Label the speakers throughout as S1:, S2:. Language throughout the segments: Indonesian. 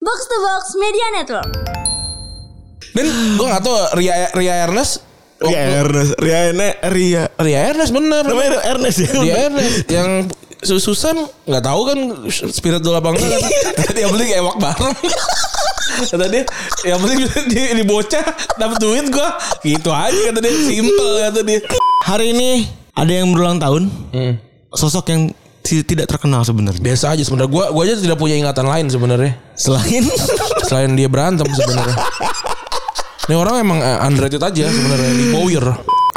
S1: Box to Box Media Network.
S2: Dan gue gak tau Ria, Ria Ernest
S3: Ria Ernest Ria Erne- Ria
S2: Ria Ernest bener
S3: Namanya Ria Ernest ya
S2: Ria Ernest Yang Su- Susan gak tahu kan Spirit dola bangsa kan? Tadi yang penting ewak bareng Kata dia Yang penting di, di bocah Dapet duit gue Gitu aja kata dia Simple kata dia
S3: Hari ini Ada yang berulang tahun
S2: hmm.
S3: Sosok yang ti- tidak terkenal sebenarnya
S2: Biasa aja sebenarnya Gue gua aja tidak punya ingatan lain sebenarnya
S3: Selain
S2: Selain dia berantem sebenarnya Ini orang emang eh, underrated aja sebenarnya di Boyer.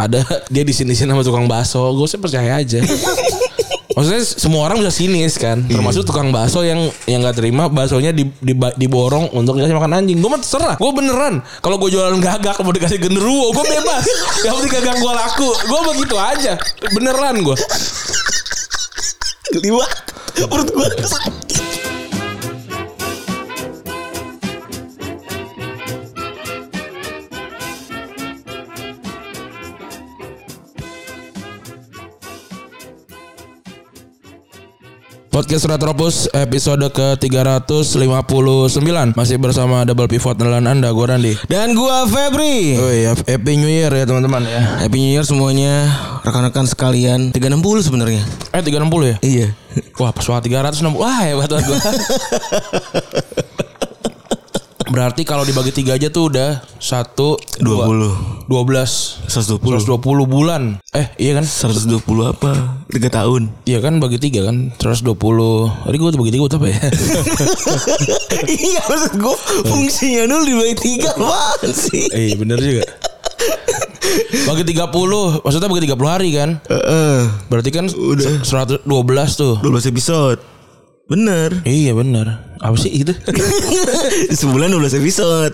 S2: Ada dia di sini sini sama tukang bakso, gue sih percaya aja. Maksudnya semua orang bisa sinis kan, termasuk tukang bakso yang yang nggak terima baksonya di, di, diborong untuk dikasih makan anjing. Gue mah terserah, gue beneran. Kalau gue jualan gagak mau dikasih genderuwo, gue bebas. Yang penting gagak gue laku, gue begitu aja. Beneran gue.
S3: Kelima Menurut gue
S2: Podcast Retropus episode ke 359 masih bersama Double Pivot dan Anda, gue Randi.
S3: Dan gua Febri
S2: Oh iya, Happy New Year ya teman-teman ya.
S3: Happy New Year semuanya Rekan-rekan sekalian 360 sebenarnya
S2: Eh 360 ya?
S3: Iya
S2: Wah pas banget 360 Wah hebat banget gue Berarti kalau dibagi 3 aja tuh udah 1 12 12
S3: 20. 120
S2: 120 bulan Eh iya kan
S3: 120 apa 3 tahun
S2: Iya kan bagi 3 kan 120 Tadi gue bagi 3 apa ya
S3: Iya maksud gue Fungsinya dulu dibagi 3 Apaan sih
S2: Iya bener juga Bagi 30 Maksudnya bagi 30 hari kan
S3: Heeh.
S2: Berarti kan
S3: Udah.
S2: 112 tuh
S3: 12 episode Bener
S2: Iya bener Apa sih itu
S3: Sebulan 12 episode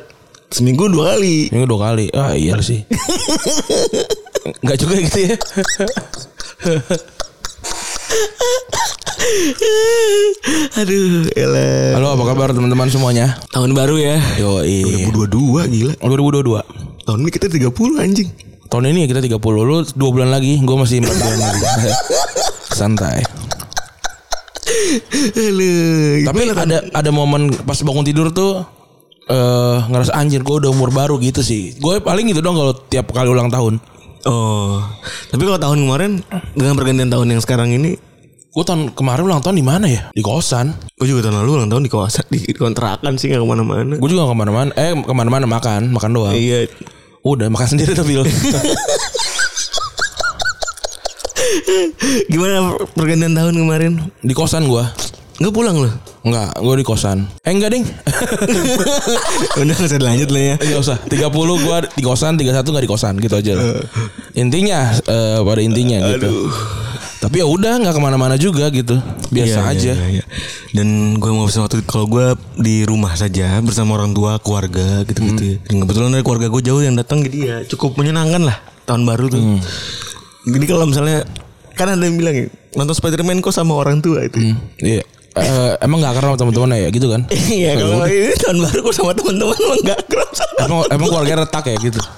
S3: Seminggu dua kali
S2: Minggu dua kali. Ah iya sih. Enggak juga gitu ya.
S3: Aduh elah
S2: Halo apa kabar teman-teman semuanya?
S3: Tahun baru ya
S2: Yo
S3: 2022 gila
S2: 2022.
S3: Tahun ini kita 30 anjing
S2: Tahun ini ya kita 30 lu 2 bulan lagi, gua masih 4 bulan lagi. Santai.
S3: Aduh
S2: Tapi ada ada momen pas bangun tidur tuh eh ngerasa anjir gua udah umur baru gitu sih. Gue paling gitu dong kalau tiap kali ulang tahun.
S3: Oh Tapi kalau tahun kemarin Dengan pergantian tahun yang sekarang ini
S2: Gue tahun kemarin ulang tahun di mana ya? Di kosan.
S3: Gue juga tahun lalu ulang tahun di kawasan Di kontrakan sih gak kemana-mana
S2: Gue juga kemana mana eh kemana mana makan, makan doang.
S3: Iya
S2: Udah makan sendiri tapi lu.
S3: Gimana per- pergantian tahun kemarin
S2: di kosan gua.
S3: Gak pulang loh
S2: Enggak, gue di kosan. Eh enggak ding.
S3: Udah gak usah dilanjut lah ya
S2: Enggak usah. 30 gue di kosan, 31 enggak di kosan gitu aja lah. Intinya eh, pada intinya gitu. Tapi ya udah nggak kemana-mana juga gitu. Biasa
S3: Iya,
S2: aja.
S3: iya, iya, iya. Dan gue mau pesan waktu kalau gue di rumah saja bersama orang tua, keluarga gitu-gitu. ya. Dan kebetulan dari keluarga gue jauh yang datang jadi ya cukup menyenangkan lah tahun baru tuh. Jadi kalau misalnya kan ada yang bilang ya, nonton Spiderman kok sama orang tua itu.
S2: Iya. Eh, emang gak akrab sama teman-teman ya gitu kan?
S3: Iya kalau ini tahun baru kok sama teman-teman emang gak kerasa.
S2: Emang emang keluarga retak ya gitu.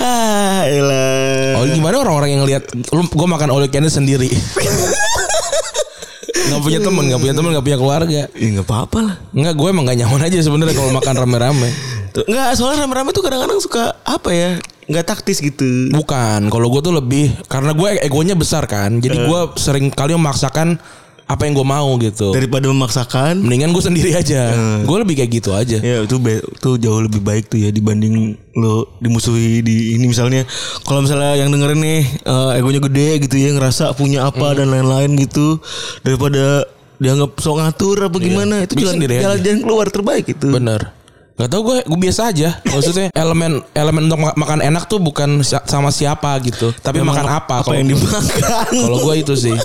S3: Ah, elah.
S2: Oh gimana orang-orang yang ngelihat lu gue makan oleh candy sendiri. Gak punya teman, gak punya teman, gak punya keluarga.
S3: Ya nggak apa-apa lah.
S2: Enggak, gue emang gak nyaman aja sebenarnya kalau makan rame-rame.
S3: Tuh, Nggak soalnya rame-rame tuh kadang-kadang suka apa ya nggak taktis gitu.
S2: Bukan, kalau gue tuh lebih karena gue egonya besar kan,
S3: Eh.
S2: jadi gue sering kali memaksakan apa yang gue mau gitu.
S3: Daripada memaksakan
S2: Mendingan gue sendiri aja,
S3: Eh.
S2: gue lebih kayak gitu aja.
S3: Ya itu be- itu jauh lebih baik tuh ya dibanding lo dimusuhi di ini misalnya kalau misalnya yang dengerin nih eh, egonya gede gitu ya ngerasa punya apa dan lain-lain gitu daripada dianggap sok ngatur apa gimana itu
S2: Bisa
S3: jalan
S2: sendiri
S3: jalan,
S2: aja.
S3: jalan keluar terbaik itu.
S2: Bener. Gak tau gue, gue biasa aja. Maksudnya elemen elemen untuk ma- makan enak tuh bukan si- sama siapa gitu, tapi makan apa.
S3: apa gitu?
S2: kalau
S3: yang
S2: gua.
S3: dimakan?
S2: Kalau gue itu sih.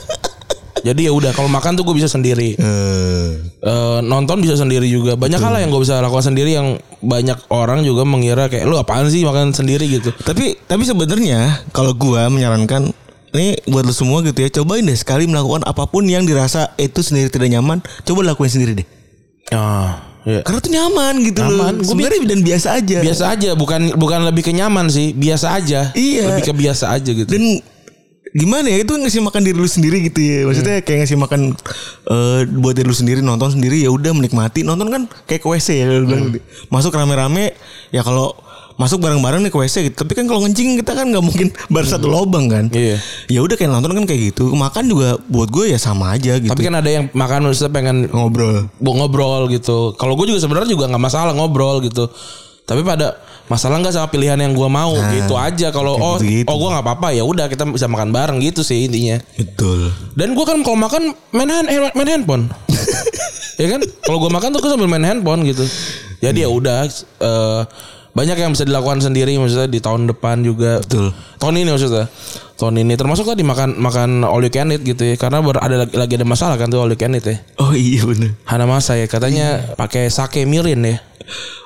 S2: Jadi ya udah, kalau makan tuh gue bisa sendiri.
S3: Eh,
S2: Eh, nonton bisa sendiri juga. Banyak hal yang gue bisa lakukan sendiri yang banyak orang juga mengira kayak lu apaan sih makan sendiri gitu.
S3: tapi tapi sebenarnya kalau gua menyarankan ini buat lo semua gitu ya cobain deh sekali melakukan apapun yang dirasa itu sendiri tidak nyaman coba lakuin sendiri deh
S2: Ah, iya.
S3: karena tuh nyaman gitu
S2: Nyaman.
S3: loh
S2: Gua
S3: sebenarnya dan biasa aja
S2: biasa aja bukan bukan lebih ke nyaman sih biasa aja
S3: Iya.
S2: lebih ke biasa aja gitu
S3: dan gimana ya itu ngasih makan diri lu sendiri gitu ya maksudnya
S2: Hmm.
S3: kayak ngasih makan eh, buat diri lu sendiri nonton sendiri ya udah menikmati nonton kan kayak ke WC ya lu bilang
S2: Hmm.
S3: tadi. masuk rame-rame ya kalau masuk bareng-bareng nih ke WC gitu tapi kan kalau ngencing kita kan nggak mungkin bareng satu lobang kan
S2: Iya.
S3: ya udah kayak nonton kan kayak gitu makan juga buat gue ya sama aja gitu
S2: Tapi kan ada yang makan maksudnya pengen
S3: ngobrol
S2: bu- ngobrol gitu. Kalau gue juga sebenarnya juga nggak masalah ngobrol gitu. Tapi pada masalah nggak sama pilihan yang gue mau gitu aja. Kalau oh
S3: Nah, gitu-gitu.
S2: oh gue nggak apa-apa ya udah kita bisa makan bareng gitu sih intinya.
S3: betul
S2: Dan gue kan kalau makan main, hand, eh, main handphone. ya kan? Kalau gue makan tuh gue sambil main handphone gitu.
S3: Iya.
S2: Jadi ya udah eh, banyak yang bisa dilakukan sendiri maksudnya di tahun depan juga.
S3: Betul.
S2: Tahun ini maksudnya. Tahun ini termasuk tadi makan makan all you can eat gitu ya. Karena ber- ada lagi, lagi ada masalah kan tuh all you can eat ya.
S3: oh iya bener
S2: Hana Masa ya
S3: Iya.
S2: katanya pakai sake mirin ya.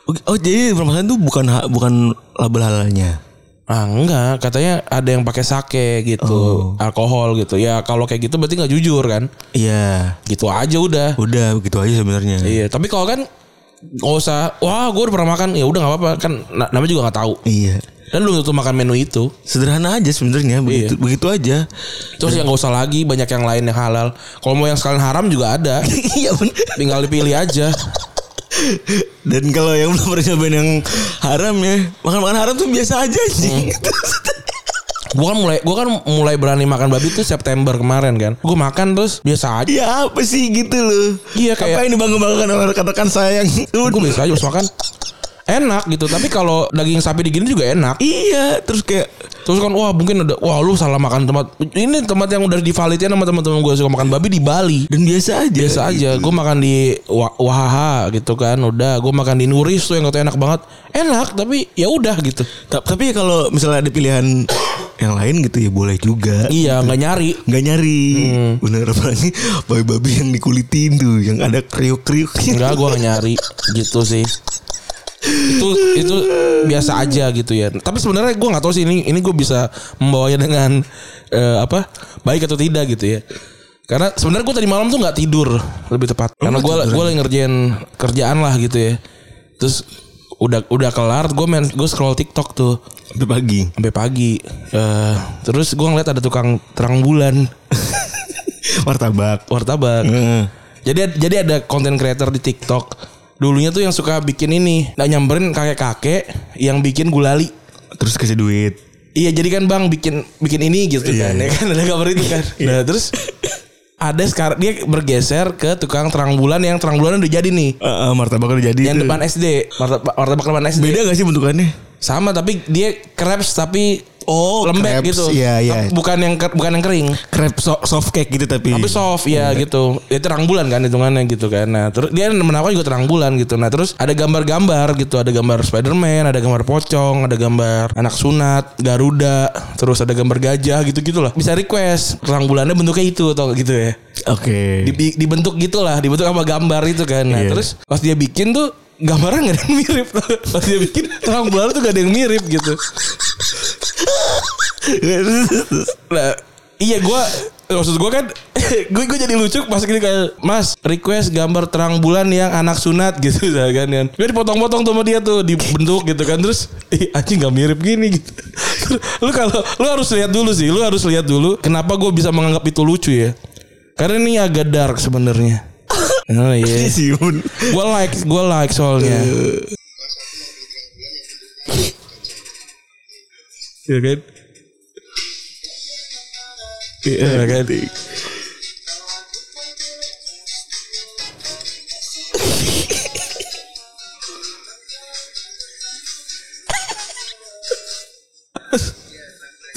S3: Oke, Oh jadi permasalahan tuh bukan ha- bukan label halalnya.
S2: Ah enggak, katanya ada yang pakai sake gitu,
S3: Oh.
S2: alkohol gitu. Ya kalau kayak gitu berarti nggak jujur kan?
S3: Iya,
S2: Gitu aja udah.
S3: udah begitu aja sebenarnya.
S2: Iya, tapi kalau kan nggak usah, wah gue udah pernah makan, ya udah nggak apa-apa kan, na- namanya juga nggak tahu.
S3: Iya.
S2: Dan lu tuh makan menu itu,
S3: Sederhana aja
S2: Iya.
S3: sebenarnya begitu begitu aja.
S2: terus ya nggak usah lagi banyak yang lain yang halal. Kalau mau yang sekalian haram juga ada,
S3: Iya bener.
S2: tinggal dipilih aja.
S3: Dan kalau yang belum pernah nyobain yang haram ya makan makan haram tuh biasa aja anjing.
S2: Hmm. Gue kan mulai, gue kan mulai berani makan babi tuh September kemarin kan. Gue makan terus biasa aja.
S3: ya apa sih gitu loh.
S2: Iya, kayak- Hmm.
S3: apa yang dibangga banggakan oleh rekan-rekan saya gitu. yang
S2: Gue biasa aja pas makan enak gitu. Tapi kalau daging sapi digini juga enak.
S3: Iya, terus kayak
S2: Terus kan wah mungkin ada wah lu salah makan tempat ini tempat yang udah divalitin sama teman-teman gue suka makan babi di Bali.
S3: dan biasa aja.
S2: biasa aja gue makan di Wa- Wahaha gitu kan udah gue makan di Nuris tuh yang katanya enak banget enak tapi ya udah gitu
S3: Iya. Ta- Tapi kalau misalnya ada pilihan yang lain gitu ya boleh juga.
S2: iya Hmm. nggak nyari
S3: nggak nyari bener apalagi babi-babi yang dikulitin tuh yang ada kriuk-kriuk
S2: enggak gue nggak nyari gitu sih itu itu biasa aja gitu ya tapi sebenarnya gue nggak tahu sih ini ini gue bisa membawanya dengan eh, apa baik atau tidak gitu ya karena sebenarnya gue tadi malam tuh nggak tidur lebih tepat karena gue gue lagi ngerjain kerjaan lah gitu ya terus udah udah kelar gue main gue scroll TikTok tuh
S3: sampai pagi
S2: sampai pagi. Eh, terus gue ngeliat ada tukang terang bulan
S3: martabak
S2: wartabak.
S3: Heeh.
S2: Jadi jadi ada konten creator di TikTok. Dulunya tuh yang suka bikin ini, nah nyamperin kakek-kakek yang bikin gulali.
S3: terus kasih duit
S2: Iya jadi kan bang bikin bikin ini gitu kan,
S3: Iya, iya.
S2: ya kan ada kabar itu kan. Nah terus ada sekarang dia bergeser ke tukang terang bulan yang terang bulan udah jadi nih,
S3: Eh, eh, martabak udah jadi
S2: yang
S3: tuh.
S2: depan SD, wartabak, wartabak depan SD.
S3: beda gak sih bentukannya
S2: Sama tapi dia crepes tapi
S3: Oh,
S2: lembek
S3: crepes.
S2: gitu.
S3: Iya, iya.
S2: Bukan yang ker- bukan yang kering.
S3: crepe so- soft cake gitu tapi
S2: Tapi soft ya gitu. Ya terang bulan kan hitungannya gitu kan. Nah, terus dia menawar juga terang bulan gitu. Nah, terus ada gambar-gambar gitu, ada gambar Spider-Man, ada gambar pocong, ada gambar anak sunat, Garuda, terus ada gambar gajah gitu-gitu lah. Bisa request terang bulannya bentuknya itu atau gitu ya.
S3: Iya. oke
S2: Dibi- dibentuk gitulah, dibentuk apa gambar itu kan. Nah,
S3: Iya.
S2: terus pas dia bikin tuh gambarnya nggak ada yang mirip. pas dia bikin terang bulan tuh gak ada yang mirip gitu. Nah, iya gua maksud gua kan gue gue jadi lucu pas gini kayak Mas request gambar terang bulan yang anak sunat gitu misalnya kan kan. Gue dipotong-potong tuh sama dia tuh dibentuk gitu kan terus ih anjing nggak mirip gini gitu. lu kalau lu harus lihat dulu sih, lu harus lihat dulu kenapa gue bisa menganggap itu lucu ya. Karena ini agak dark sebenarnya. Oh iya.
S3: Sih, Bun.
S2: Gue like, gue like soalnya. ya kan? Iya kan?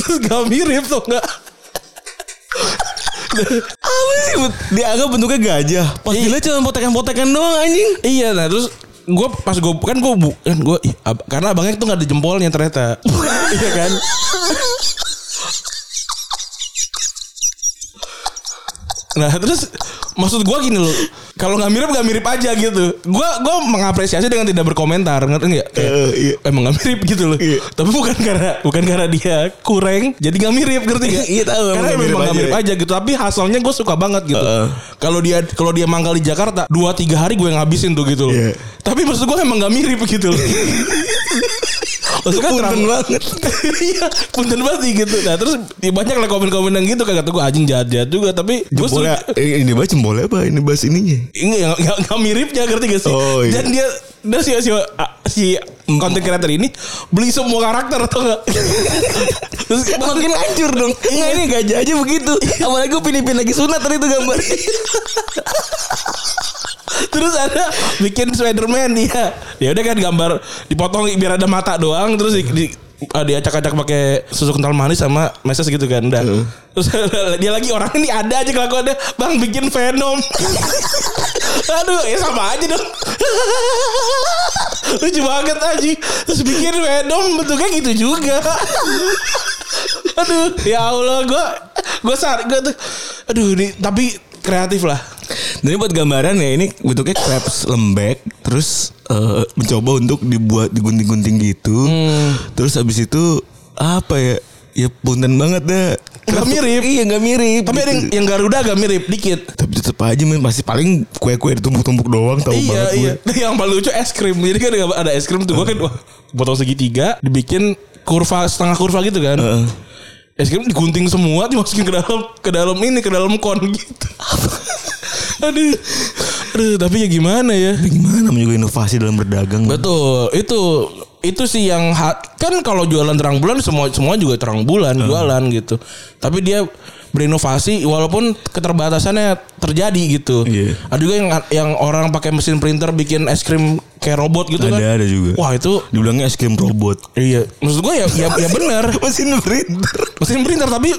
S2: Terus gak mirip tuh gak?
S3: apa sih Bun? dianggap bentuknya gajah pas
S2: Iya.
S3: gila cuma potekan-potekan doang anjing
S2: Iya nah terus gue pas gue kan gue kan gue karena abangnya tuh nggak ada jempolnya ternyata iya kan nah terus maksud gue gini loh kalau nggak mirip nggak mirip aja gitu gue gue mengapresiasi dengan tidak berkomentar ngerti nggak Kayak,
S3: Eh, iya.
S2: emang nggak mirip gitu loh
S3: Iya.
S2: tapi bukan karena bukan karena dia kurang jadi nggak mirip ngerti nggak
S3: Iya, tahu, emang
S2: karena
S3: nggak
S2: memang
S3: mirip
S2: nggak
S3: aja.
S2: mirip aja gitu tapi hasilnya gue suka banget gitu
S3: Heeh.
S2: kalau dia kalau dia mangkal di Jakarta dua tiga hari gue ngabisin tuh gitu loh
S3: Iya.
S2: tapi maksud gue emang nggak mirip gitu loh Maksudnya
S3: Punten
S2: terang-
S3: banget.
S2: Iya, punten banget sih gitu. Nah, terus ya banyak lah komen-komen yang gitu kagak tuh gue anjing jahat-jahat juga, tapi gue
S3: Jempolnya eh, ini bahas jempolnya apa? Ini bahas ininya.
S2: Enggak, enggak, enggak, enggak miripnya ya, ngerti gak sih?
S3: Oh, iya.
S2: Dan dia dan si si si content creator ini beli semua karakter atau enggak? Terus
S4: Makin hancur dong.
S2: Iya.
S4: Enggak ini gajah aja begitu. Apalagi gue pinipin lagi sunat tadi itu gambar.
S2: terus ada bikin Spiderman dia. Ya udah kan gambar dipotong biar ada mata doang terus di, di ah, diacak-acak pakai susu kental manis sama meses gitu kan udah. Terus dia lagi orang ini ada aja kelakuannya, "Bang bikin Venom." Aduh, ya sama aja dong. Lucu banget aja. Terus bikin Venom bentuknya gitu juga. Aduh, ya Allah gua gua sar gua tuh aduh ini tapi kreatif lah.
S3: Dan ini buat gambaran ya ini bentuknya crepes lembek terus eh, mencoba untuk dibuat digunting-gunting gitu. Terus abis itu apa ya? Ya punten banget deh.
S2: Gak mirip.
S3: Iya nggak mirip. Gitu.
S2: Tapi ada yang, yang Garuda agak mirip dikit.
S3: Tapi tetep aja men pasti paling kue-kue ditumpuk-tumpuk doang tahu Oh, banget gue.
S2: iya. Yang paling lucu es krim. Jadi kan ada es krim tuh gue kan wah, potong segitiga dibikin kurva setengah kurva gitu kan.
S3: Heeh.
S2: Es krim digunting semua dimasukin ke dalam ke dalam ini ke dalam kon gitu. aduh. Aduh, tapi ya gimana ya?
S3: Tapi gimana namanya juga inovasi dalam berdagang.
S2: Betul, itu itu sih yang ha- kan kalau jualan terang bulan semua semua juga terang bulan
S3: Hmm.
S2: jualan gitu. Tapi dia berinovasi walaupun keterbatasannya terjadi gitu.
S3: Iya.
S2: Ada juga yang yang orang pakai mesin printer bikin es krim kayak robot gitu
S3: ada
S2: kan.
S3: ada juga.
S2: Wah, itu
S3: Dibilangnya es krim robot.
S2: iya. Maksud gue ya ya, ya benar.
S3: Mesin printer.
S2: Mesin printer tapi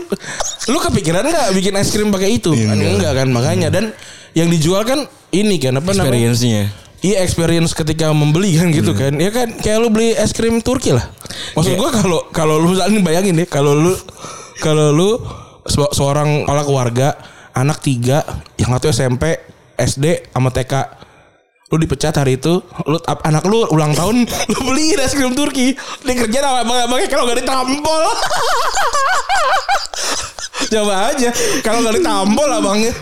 S2: lu kepikiran nggak bikin es krim pakai itu?
S3: Iya,
S2: Kan
S3: enggak.
S2: enggak kan makanya dan yang dijual kan ini kan apa namanya?
S4: Experience-nya.
S2: Iya experience ketika membeli kan gitu kan. Ya kan kayak lu beli es krim Turki lah. Maksud gua kalau kalau lu misalnya nih bayangin ya kalau lu kalau lu se- seorang kepala keluarga anak tiga yang satu SMP, SD sama TK lu dipecat hari itu lu ap- anak lu ulang tahun lu beliin es krim Turki dia kerja sama abang kalau gak ditampol coba aja kalau gak ditampol abangnya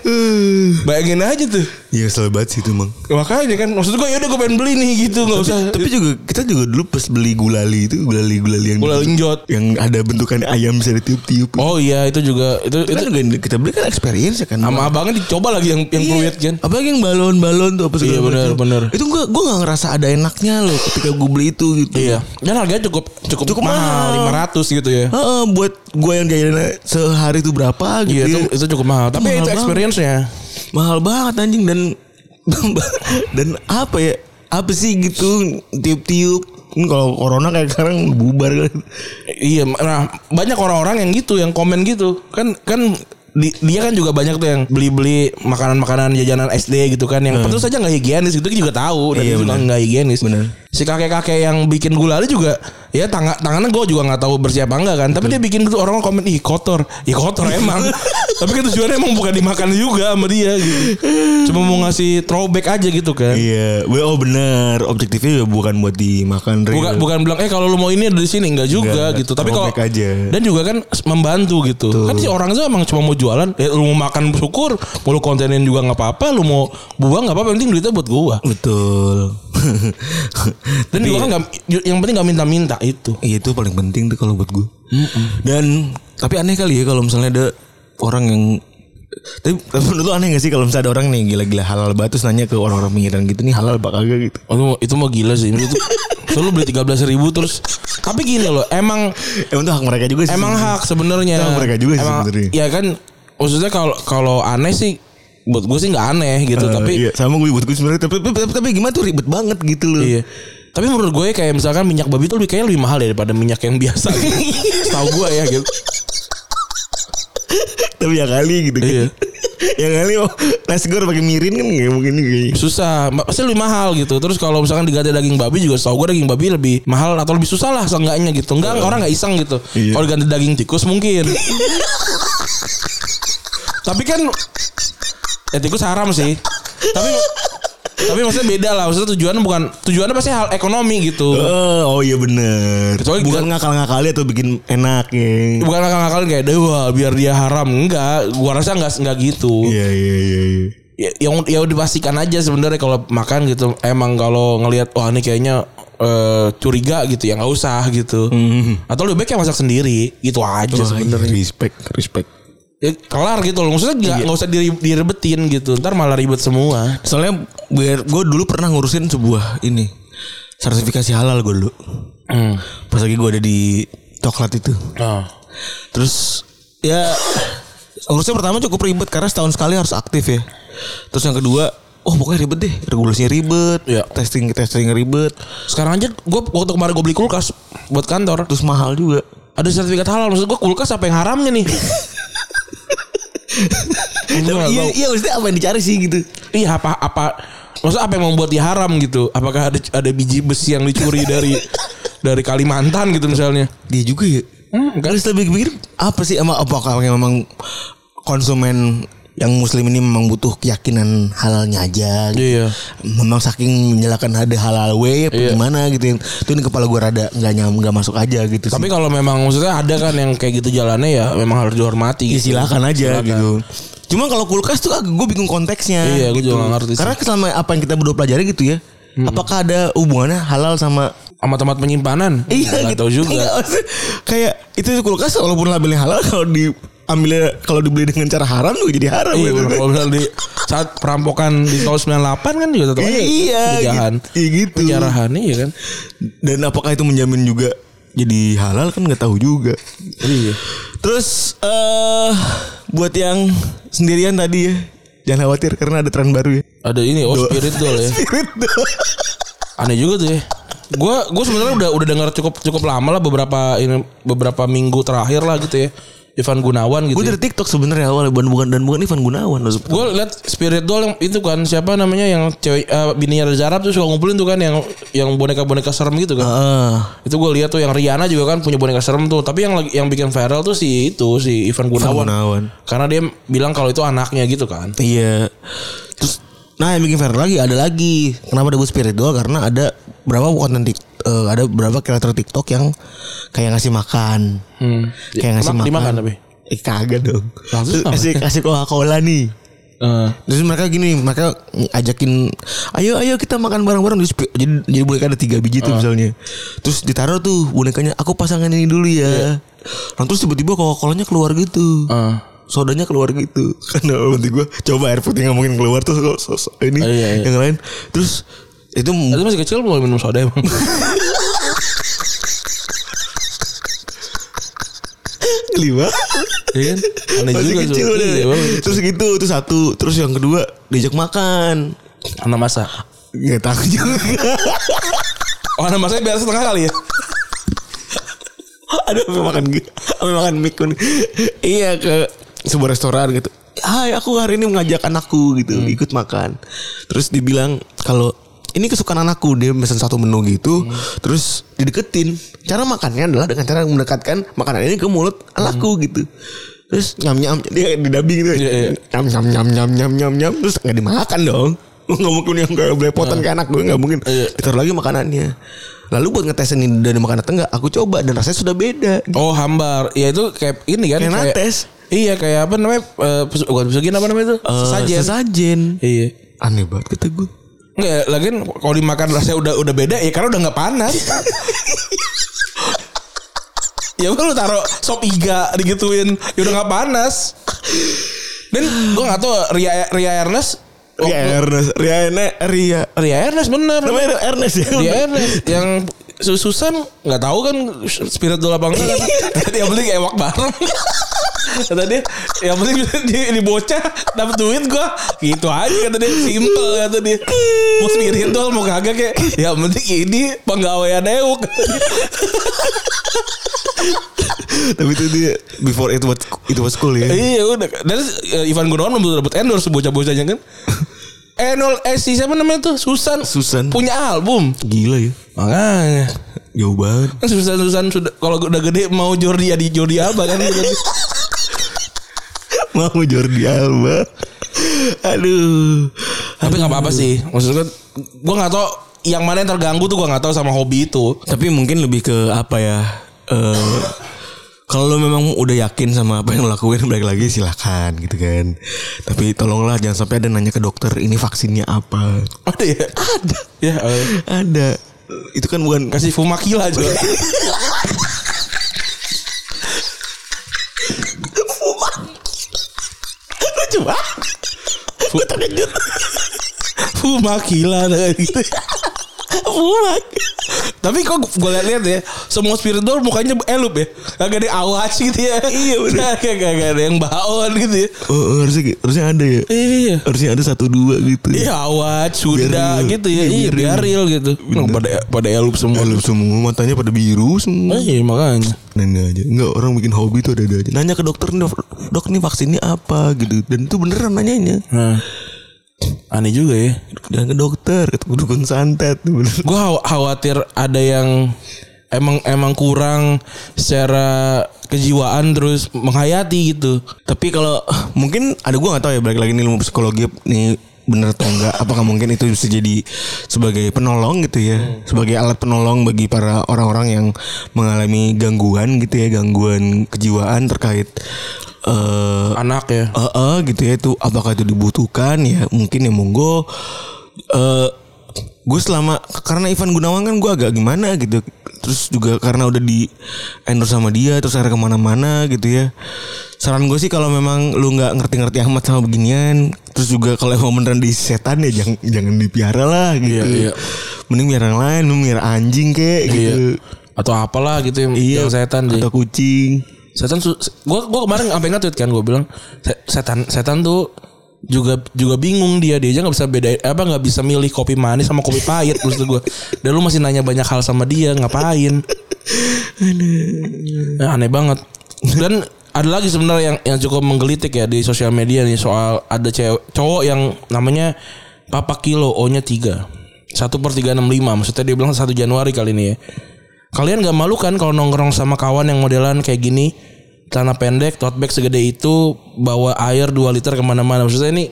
S2: bayangin aja tuh
S3: Eh, Iya selalu banget sih itu emang.
S2: Makanya kan maksud gue yaudah gue pengen beli nih gitu nggak usah.
S3: Tapi juga kita juga dulu pas beli gulali itu gulali gulali yang
S2: Gulali njot.
S3: yang ada bentukan ayam bisa ditiup-tiup.
S2: Oh iya itu juga itu
S3: itu
S2: itu
S3: kan juga yang kita beli kan experience ya kan.
S2: sama abangnya dicoba lagi yang
S3: Iya.
S2: yang fluid kan.
S3: Apalagi yang balon-balon tuh apa segala
S2: Iya, benar,
S3: macam.
S2: benar.
S3: Itu gua gua gak ngerasa ada enaknya loh ketika gua beli itu gitu.
S2: Iya. Dan harganya cukup cukup,
S3: Cukup mahal.
S2: mahal, 500 gitu ya.
S3: Heeh, buat gua yang jajannya sehari itu berapa gitu.
S2: Iya itu,
S3: ya.
S2: itu cukup mahal. Tapi
S3: Mahal
S2: itu
S3: banget.
S2: experience-nya.
S3: mahal banget anjing dan dan apa ya? Apa sih gitu tiup-tiup. Ini Kalau corona kayak sekarang bubar kan.
S2: Iya, nah banyak orang-orang yang gitu yang komen gitu. Kan kan di- dia kan juga banyak tuh yang beli-beli makanan-makanan jajanan SD gitu kan yang tentu saja nggak higienis gitu kita juga tahu dan
S3: Iya,
S2: itu juga
S3: bener.
S2: nggak higienis.
S3: Bener.
S2: Si kakek-kakek yang bikin gulali juga ya tangan tangannya gue juga nggak tahu bersih apa enggak kan. Tapi dia bikin gitu orang komen ih kotor, ih kotor emang. Tapi kan tujuannya emang bukan dimakan juga sama dia gitu. Cuma mau ngasih throwback aja gitu kan.
S3: Iya, oh bener. Objektifnya juga bukan buat dimakan real.
S2: Bukan bukan bilang eh kalau lu mau ini ada di sini enggak juga
S3: Enggak,
S2: gitu. Tapi kalau
S3: throwback aja.
S2: dan juga kan membantu gitu. Kan si orang itu emang cuma mau jualan, ya, lu mau makan syukur, mau lu kontenin juga nggak apa-apa, lu mau buang nggak apa-apa, yang penting duitnya buat gua.
S3: Betul.
S2: Dan
S3: Tapi
S2: juga
S3: ya,
S2: kan nggak yang penting nggak minta-minta itu.
S3: iya, itu paling penting tuh kalau buat gue. Dan tapi aneh kali ya kalau misalnya ada orang yang tapi, tapi menurut lu aneh gak sih kalau misalnya ada orang nih gila-gila halal banget terus nanya ke orang-orang pinggiran gitu nih halal pak kagak gitu.
S2: Itu, itu mah gila sih. Itu so, lu beli 13 ribu terus tapi gini loh, emang
S3: Emang tuh hak mereka juga sih.
S2: emang
S3: sebenarnya.
S2: hak sebenarnya.
S3: Itu hak mereka juga sih
S2: Emang-
S3: sebenarnya.
S2: Ya kan maksudnya kalau kalau aneh sih buat gue sih nggak aneh gitu,
S3: Eh,
S2: tapi
S3: iya, sama gue buat gue sebenarnya tapi, tapi, tapi, tapi gimana tuh ribet banget gitu loh.
S2: Iya. Tapi menurut gue kayak misalkan minyak babi itu lebih kayak lebih mahal daripada minyak yang biasa. Tahu gue ya gitu.
S3: tapi ya kali gitu kan.
S2: Iya.
S3: ya kali oh, nasi goreng pakai mirin kan nggak mungkin kayaknya.
S2: Susah, Ma- pasti lebih mahal gitu. Terus kalau misalkan diganti daging babi juga tahu gue daging babi lebih mahal atau lebih susah lah seenggaknya gitu. Enggak orang nggak iseng gitu.
S3: Iya.
S2: Kalau diganti daging tikus mungkin. Tapi kan ya tikus haram sih. Tapi tapi maksudnya beda lah. Maksudnya tujuannya bukan tujuannya pasti hal ekonomi gitu.
S3: Eh, oh iya bener.
S2: Kecuali-
S3: Bukan ngakal-ngakali atau bikin enak ya.
S2: Bukan akal-akalan kayak dewa biar dia haram enggak. Gua rasa enggak enggak gitu.
S3: Iya iya iya. iya.
S2: ya, yang ya udah pastikan aja sebenarnya kalau makan gitu emang kalau ngelihat wah ini kayaknya eh, curiga gitu ya nggak usah gitu.
S5: Hmm.
S3: Mhm.
S2: Atau lebih baik yang masak sendiri gitu aja
S3: Iya,
S2: sebenarnya.
S3: respect respect
S2: Ya, kelar gitu loh. Maksudnya
S5: Iya.
S2: nggak nggak usah diri- direbetin gitu. Ntar malah ribet semua.
S3: soalnya biar gue dulu pernah ngurusin sebuah ini sertifikasi halal gue dulu
S5: Hmm.
S3: pas lagi gue ada di coklat itu
S2: Oh.
S3: terus ya urusnya pertama cukup ribet karena setahun sekali harus aktif ya terus yang kedua oh pokoknya ribet deh regulasinya ribet
S2: Iya.
S3: testing testing ribet
S2: Sekarang aja gue waktu kemarin gue beli kulkas buat kantor.
S3: terus mahal juga
S2: Ada sertifikat halal. Maksud gue kulkas apa yang haramnya nih? Gua nggak
S5: Iya,
S2: tahu.
S5: iya maksudnya apa yang dicari sih gitu.
S2: Iya apa apa maksud apa yang membuat dia haram gitu? Apakah ada ada biji besi yang dicuri dari dari Kalimantan gitu misalnya?
S3: dia juga ya
S2: Hmm,
S3: Harus lebih pikir apa sih emang apakah yang memang konsumen yang muslim ini memang butuh keyakinan halalnya aja gitu.
S2: Iya.
S3: Memang saking menyalakan ada halal way apa
S2: Iya.
S3: gimana gitu. Itu ini kepala gua rada nggak nyam nggak masuk aja gitu
S2: Tapi
S3: sih.
S2: kalau memang maksudnya ada kan yang kayak gitu jalannya ya memang harus dihormati.
S3: Ya,
S2: Gitu.
S3: silakan aja gitu. Cuma kalau kulkas tuh agak gue bingung konteksnya.
S2: Iya, gua juga nggak ngerti sih. Hmm.
S3: Karena selama apa yang kita berdua pelajari gitu ya. Apakah ada hubungannya halal sama
S2: Sama tempat penyimpanan. Hmm, Nggak tahu juga.
S3: Iya, maksudnya kayak itu kulkas walaupun labelnya halal kalau diambilnya kalau dibeli dengan cara haram juga jadi haram.
S2: Iya,
S3: gitu.
S2: bener. kalau misalnya di saat perampokan di tahun 98 kan juga tetap aja
S3: Iya,
S2: penjajahan.
S3: gitu. Iya, gitu.
S2: Penjarahan iya kan.
S3: Dan apakah itu menjamin juga jadi halal kan nggak tahu juga.
S2: Iya.
S3: Terus eh buat yang sendirian tadi ya jangan khawatir karena ada tren baru ya.
S2: Ada ini oh spiritual ya.
S3: Spirit doll.
S2: aneh juga tuh ya gue gue sebenarnya udah udah dengar cukup cukup lama lah beberapa ini beberapa minggu terakhir lah gitu ya Ivan Gunawan gitu
S3: Gue
S2: ya.
S3: dari TikTok sebenarnya awalnya bukan bukan dan bukan Ivan Gunawan loh sebetulnya.
S2: gue liat spirit doll yang itu kan siapa namanya yang cewek eh, bininya Reza Arab tuh suka ngumpulin tuh kan yang yang boneka boneka serem gitu kan
S3: Ah,
S2: itu gue lihat tuh yang Rihanna juga kan punya boneka serem tuh tapi yang lagi- yang bikin viral tuh si itu si Ivan
S3: Ivan
S2: Gunawan
S3: Gunawan.
S2: karena dia bilang kalau itu anaknya gitu kan
S3: Iya. Terus nah yang bikin viral lagi ada lagi. Kenapa disebut spirit doll? Karena ada berapa konten tik, eh, ada berapa kreator TikTok yang kayak ngasih makan.
S2: Hmm.
S3: Kayak ngasih
S2: Mak-
S3: makan.
S2: dimakan tapi?
S3: Eh, kagak dong.
S2: Langsung apa?
S3: kasih kasih Coca-Cola nih.
S2: Eh,
S3: Terus mereka gini, mereka ajakin, ayo ayo kita makan bareng-bareng. Terus pi- Jadi, jadi boneka ada tiga
S2: Ah.
S3: biji tuh misalnya. Terus ditaruh tuh bonekanya, aku pasangan ini dulu
S2: Iya.
S3: ya. Nah, terus tiba-tiba Coca-Colanya keluar gitu
S2: eh.
S3: sodanya keluar gitu karena nanti gue coba air putih nggak mungkin keluar terus kok so- so- ini
S2: Oh, iya, iya.
S3: yang lain terus itu
S2: itu masih kecil mau minum soda emang
S3: lima
S2: Iya kan? aneh
S3: masih
S2: juga
S3: kecil
S2: tuh.
S3: udah.
S2: Iya, bang.
S3: terus gitu itu satu terus yang kedua diajak makan
S2: anak masa
S3: nggak tahu juga
S2: Oh, anak masanya biar setengah kali ya.
S3: ada apa makan gitu apa makan mie kuning. iya ke sebuah restoran gitu Hai aku hari ini mengajak anakku gitu
S2: Hmm.
S3: ikut makan terus dibilang kalau ini kesukaan anakku dia pesan satu menu gitu
S2: Hmm.
S3: terus dideketin cara makannya adalah dengan cara mendekatkan makanan ini ke mulut anakku gitu terus nyam nyam dia di dubbing gitu
S2: Hmm. Iya, iya.
S3: nyam nyam nyam nyam nyam nyam nyam terus nggak dimakan dong nggak mungkin yang kayak belepotan ke anak gue nggak mungkin ditaruh lagi makanannya lalu buat ngetes ini dari makan atau enggak aku coba dan rasanya sudah beda
S2: Oh, hambar. Ya itu kayak ini kan
S3: Kayak nates.
S2: Iya, kayak apa namanya? eh, pesu- bukan pesugihan apa namanya itu?
S3: sajen
S2: Eh, Sesajen.
S3: sajen
S2: Iya.
S3: aneh banget kata gue
S2: Enggak, lagian kalau dimakan rasanya udah udah beda ya karena udah nggak panas. ya udah lu taruh sop iga digituin, ya udah nggak panas. Dan gue nggak tahu Ria Ria Ernest
S3: Ria Ernest Ria Erne- Ria
S2: Ria Ernest bener.
S3: namanya Ria Ernest ya
S2: Dia Ernest Iya. yang sususan nggak tahu kan spirit dola bangga kan. Tadi yang penting ewak bareng. Kata dia yang penting dia ini bocah dapat duit gua gitu aja kata dia simple kata dia mau spirit dola mau kagak kayak Ya, yang penting ini penggawaian ewak
S3: tapi itu dia before it was it was cool ya
S2: iya udah dan eh, Ivan Gunawan belum dapat endorse bocah-bocahnya kan Eh nol eh si siapa namanya tuh Susan
S3: Susan.
S2: punya album
S3: gila ya
S2: makanya
S3: jauh banget
S2: Kan Susan-Susan sudah kalau udah gede mau Jordi Adi Jordi apa kan
S3: mau Jordi Alba aduh
S2: Tapi nggak apa-apa sih. Maksudnya gue nggak tahu yang mana yang terganggu tuh gue nggak tahu sama hobi itu.
S3: Tapi mungkin lebih ke apa ya? eh kalau lo memang udah yakin sama apa yang lo lakuin balik lagi silahkan gitu kan. Tapi tolonglah jangan sampai ada nanya ke dokter ini vaksinnya apa.
S2: Ada ya? Ada. Ya. Oh, iya. eh.
S3: Ada. itu kan bukan
S2: Kasih fumakila juga.
S3: lucu banget. Gue terkejut.
S2: fumakila gitu.
S3: Fumak.
S2: Tapi kok gue lihat-lihat ya, semua spiritual mukanya elup ya. Kagak ada yang awas gitu ya. Iya benar. Kagak kagak ada yang baon gitu ya.
S3: Oh, oh, harusnya harusnya ada ya.
S2: Iya.
S3: Harusnya ada satu dua gitu.
S2: Iya awat Sunda
S3: Biar real.
S2: gitu ya.
S3: Iya,
S2: Iya
S3: biar
S2: biar real gitu. Nah, pada pada elup semua.
S3: Malu semua matanya pada biru semua.
S2: Iya makanya.
S3: Nanya aja. Enggak orang bikin hobi tuh ada-ada aja. Nanya ke dokter, "Dok, dok ini vaksinnya apa?" gitu. Dan itu beneran nanyanya.
S2: Nah. Aneh juga ya.
S3: Jangan ke dokter, ketemu dukun santet gitu. bener.
S2: Gue khawatir ada yang emang emang kurang secara kejiwaan terus menghayati gitu. Tapi kalau
S3: Mungkin ada gua nggak tahu ya balik lagi nih ilmu psikologi nih bener atau enggak apakah mungkin itu bisa jadi sebagai penolong gitu ya sebagai alat penolong bagi para orang-orang yang mengalami gangguan gitu ya gangguan kejiwaan terkait eh
S2: anak ya.
S3: eh eh, gitu ya itu apakah itu dibutuhkan ya mungkin ya monggo eh gue selama karena Ivan Gunawan kan gue agak gimana gitu terus juga karena udah di endorse sama dia terus akhirnya kemana-mana gitu ya saran gue sih kalau memang lu nggak ngerti-ngerti amat sama beginian terus juga kalau emang beneran di setan ya jangan jangan dipiara lah gitu
S2: Iya, iya.
S3: mending biar yang lain lu biar anjing
S2: Iya.
S3: kek gitu
S2: Atau apalah gitu yang, yang setan sih.
S3: atau kucing
S2: setan su- se- gua gua kemarin sampai nge-tweet kan gua bilang "Se- setan setan tuh juga juga bingung dia dia aja nggak bisa bedain apa nggak bisa milih kopi manis sama kopi pahit maksud gua dan lu masih nanya banyak hal sama dia ngapain Eh, aneh banget dan ada lagi sebenarnya yang yang cukup menggelitik ya di sosial media nih soal ada cewek cowok yang namanya Papa Kilo O nya 3 1 per 365 maksudnya dia bilang 1 Januari kali ini ya Kalian gak malu kan kalau nongkrong sama kawan yang modelan kayak gini? Celana pendek, tote bag segede itu, bawa air 2 liter kemana-mana. Maksudnya ini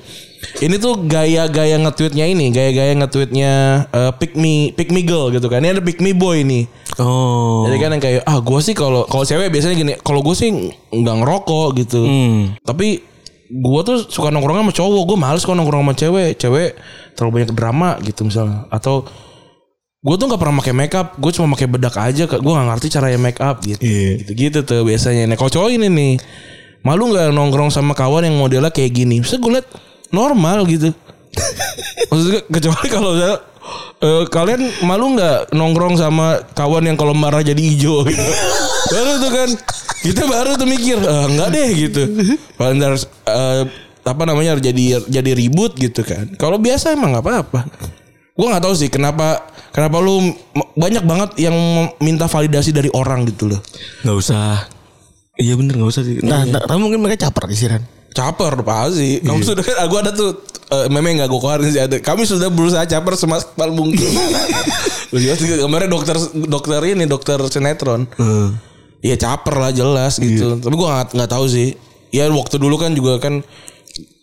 S2: ini tuh gaya-gaya nge-tweetnya ini, gaya-gaya nge-tweetnya eh, pick me, pick me girl gitu kan. Ini ada pick me boy nih.
S3: oh
S2: Jadi kan yang kayak ah gue sih kalau kalau cewek biasanya gini, kalau gue sih nggak ngerokok gitu.
S3: Hmm.
S2: Tapi gue tuh suka nongkrong sama cowok, gue males kalau nongkrong sama cewek. Cewek terlalu banyak drama gitu misalnya. Atau gue tuh nggak pernah pakai makeup, gue cuma pakai bedak aja. Kak. Gue nggak ngerti caranya make up gitu.
S3: Iya.
S2: Gitu-gitu tuh biasanya. Nah kalau cowok ini nih malu nggak nongkrong sama kawan yang modelnya kayak gini. Terus gue liat normal gitu. Maksudnya kecuali kalau misalnya, eh, kalian malu nggak nongkrong sama kawan yang kalau marah jadi hijau gitu. baru tuh kan kita baru tuh mikir "Ah, nggak deh gitu kalau ntar eh, apa namanya jadi jadi ribut gitu kan kalau biasa emang nggak apa-apa gue nggak tahu sih kenapa kenapa lu m- banyak banget yang minta validasi dari orang gitu loh
S3: Gak usah. Iya bener gak usah sih. Nah, nah, tapi mungkin mereka caper isiran.
S2: caper pasti kamu sudah kan aku ada tuh eh, meme nggak gue keluarin sih ada kami sudah berusaha caper semaksimal mungkin Lu lihat juga kemarin dokter dokter ini dokter sinetron Iya caper lah jelas gitu tapi gue nggak nggak tahu sih ya waktu dulu kan juga kan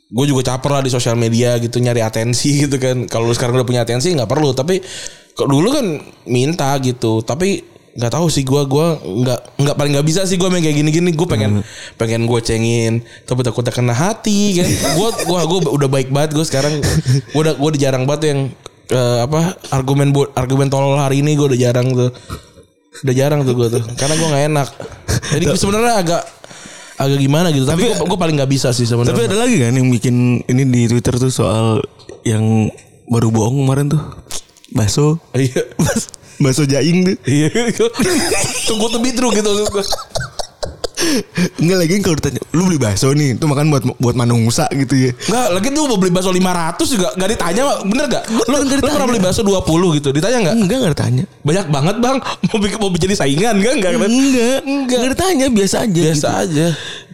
S2: gue juga caper lah di sosial media gitu nyari atensi gitu kan kalau lu sekarang udah punya atensi nggak perlu tapi kalau dulu kan minta gitu tapi nggak tahu sih gue gue nggak nggak paling nggak bisa sih gue main kayak gini gini gue pengen pengen gue cengin tapi takutnya kena hati kan gue gue gue udah baik banget gue sekarang gue udah gue udah jarang banget yang eh, apa argumen bo- argumen tolol hari ini gue udah jarang tuh udah jarang tuh gue tuh karena gue nggak enak jadi sebenarnya agak agak gimana gitu tapi, gue gue paling nggak bisa sih sebenarnya
S3: Tapi ada lagi kan yang bikin ini di Twitter tuh soal yang baru bohong kemarin tuh. Baso.
S2: Iya.
S3: Baso jaing tuh.
S2: Iya. Tunggu tuh bitru gitu maksud gua.
S3: Enggak lagi kan kalau ditanya, lu beli baso nih, tuh makan buat buat manungsa gitu ya.
S2: Enggak, lagi tuh mau beli bakso 500 juga enggak ditanya, bener gak? Lu, lu pernah beli bakso 20 gitu, ditanya enggak?
S3: Enggak enggak ditanya.
S2: Banyak banget, Bang. Mau bikin mau jadi saingan enggak enggak? kan?
S3: Enggak, enggak ditanya biasa aja.
S2: Biasa
S3: gitu.
S2: aja.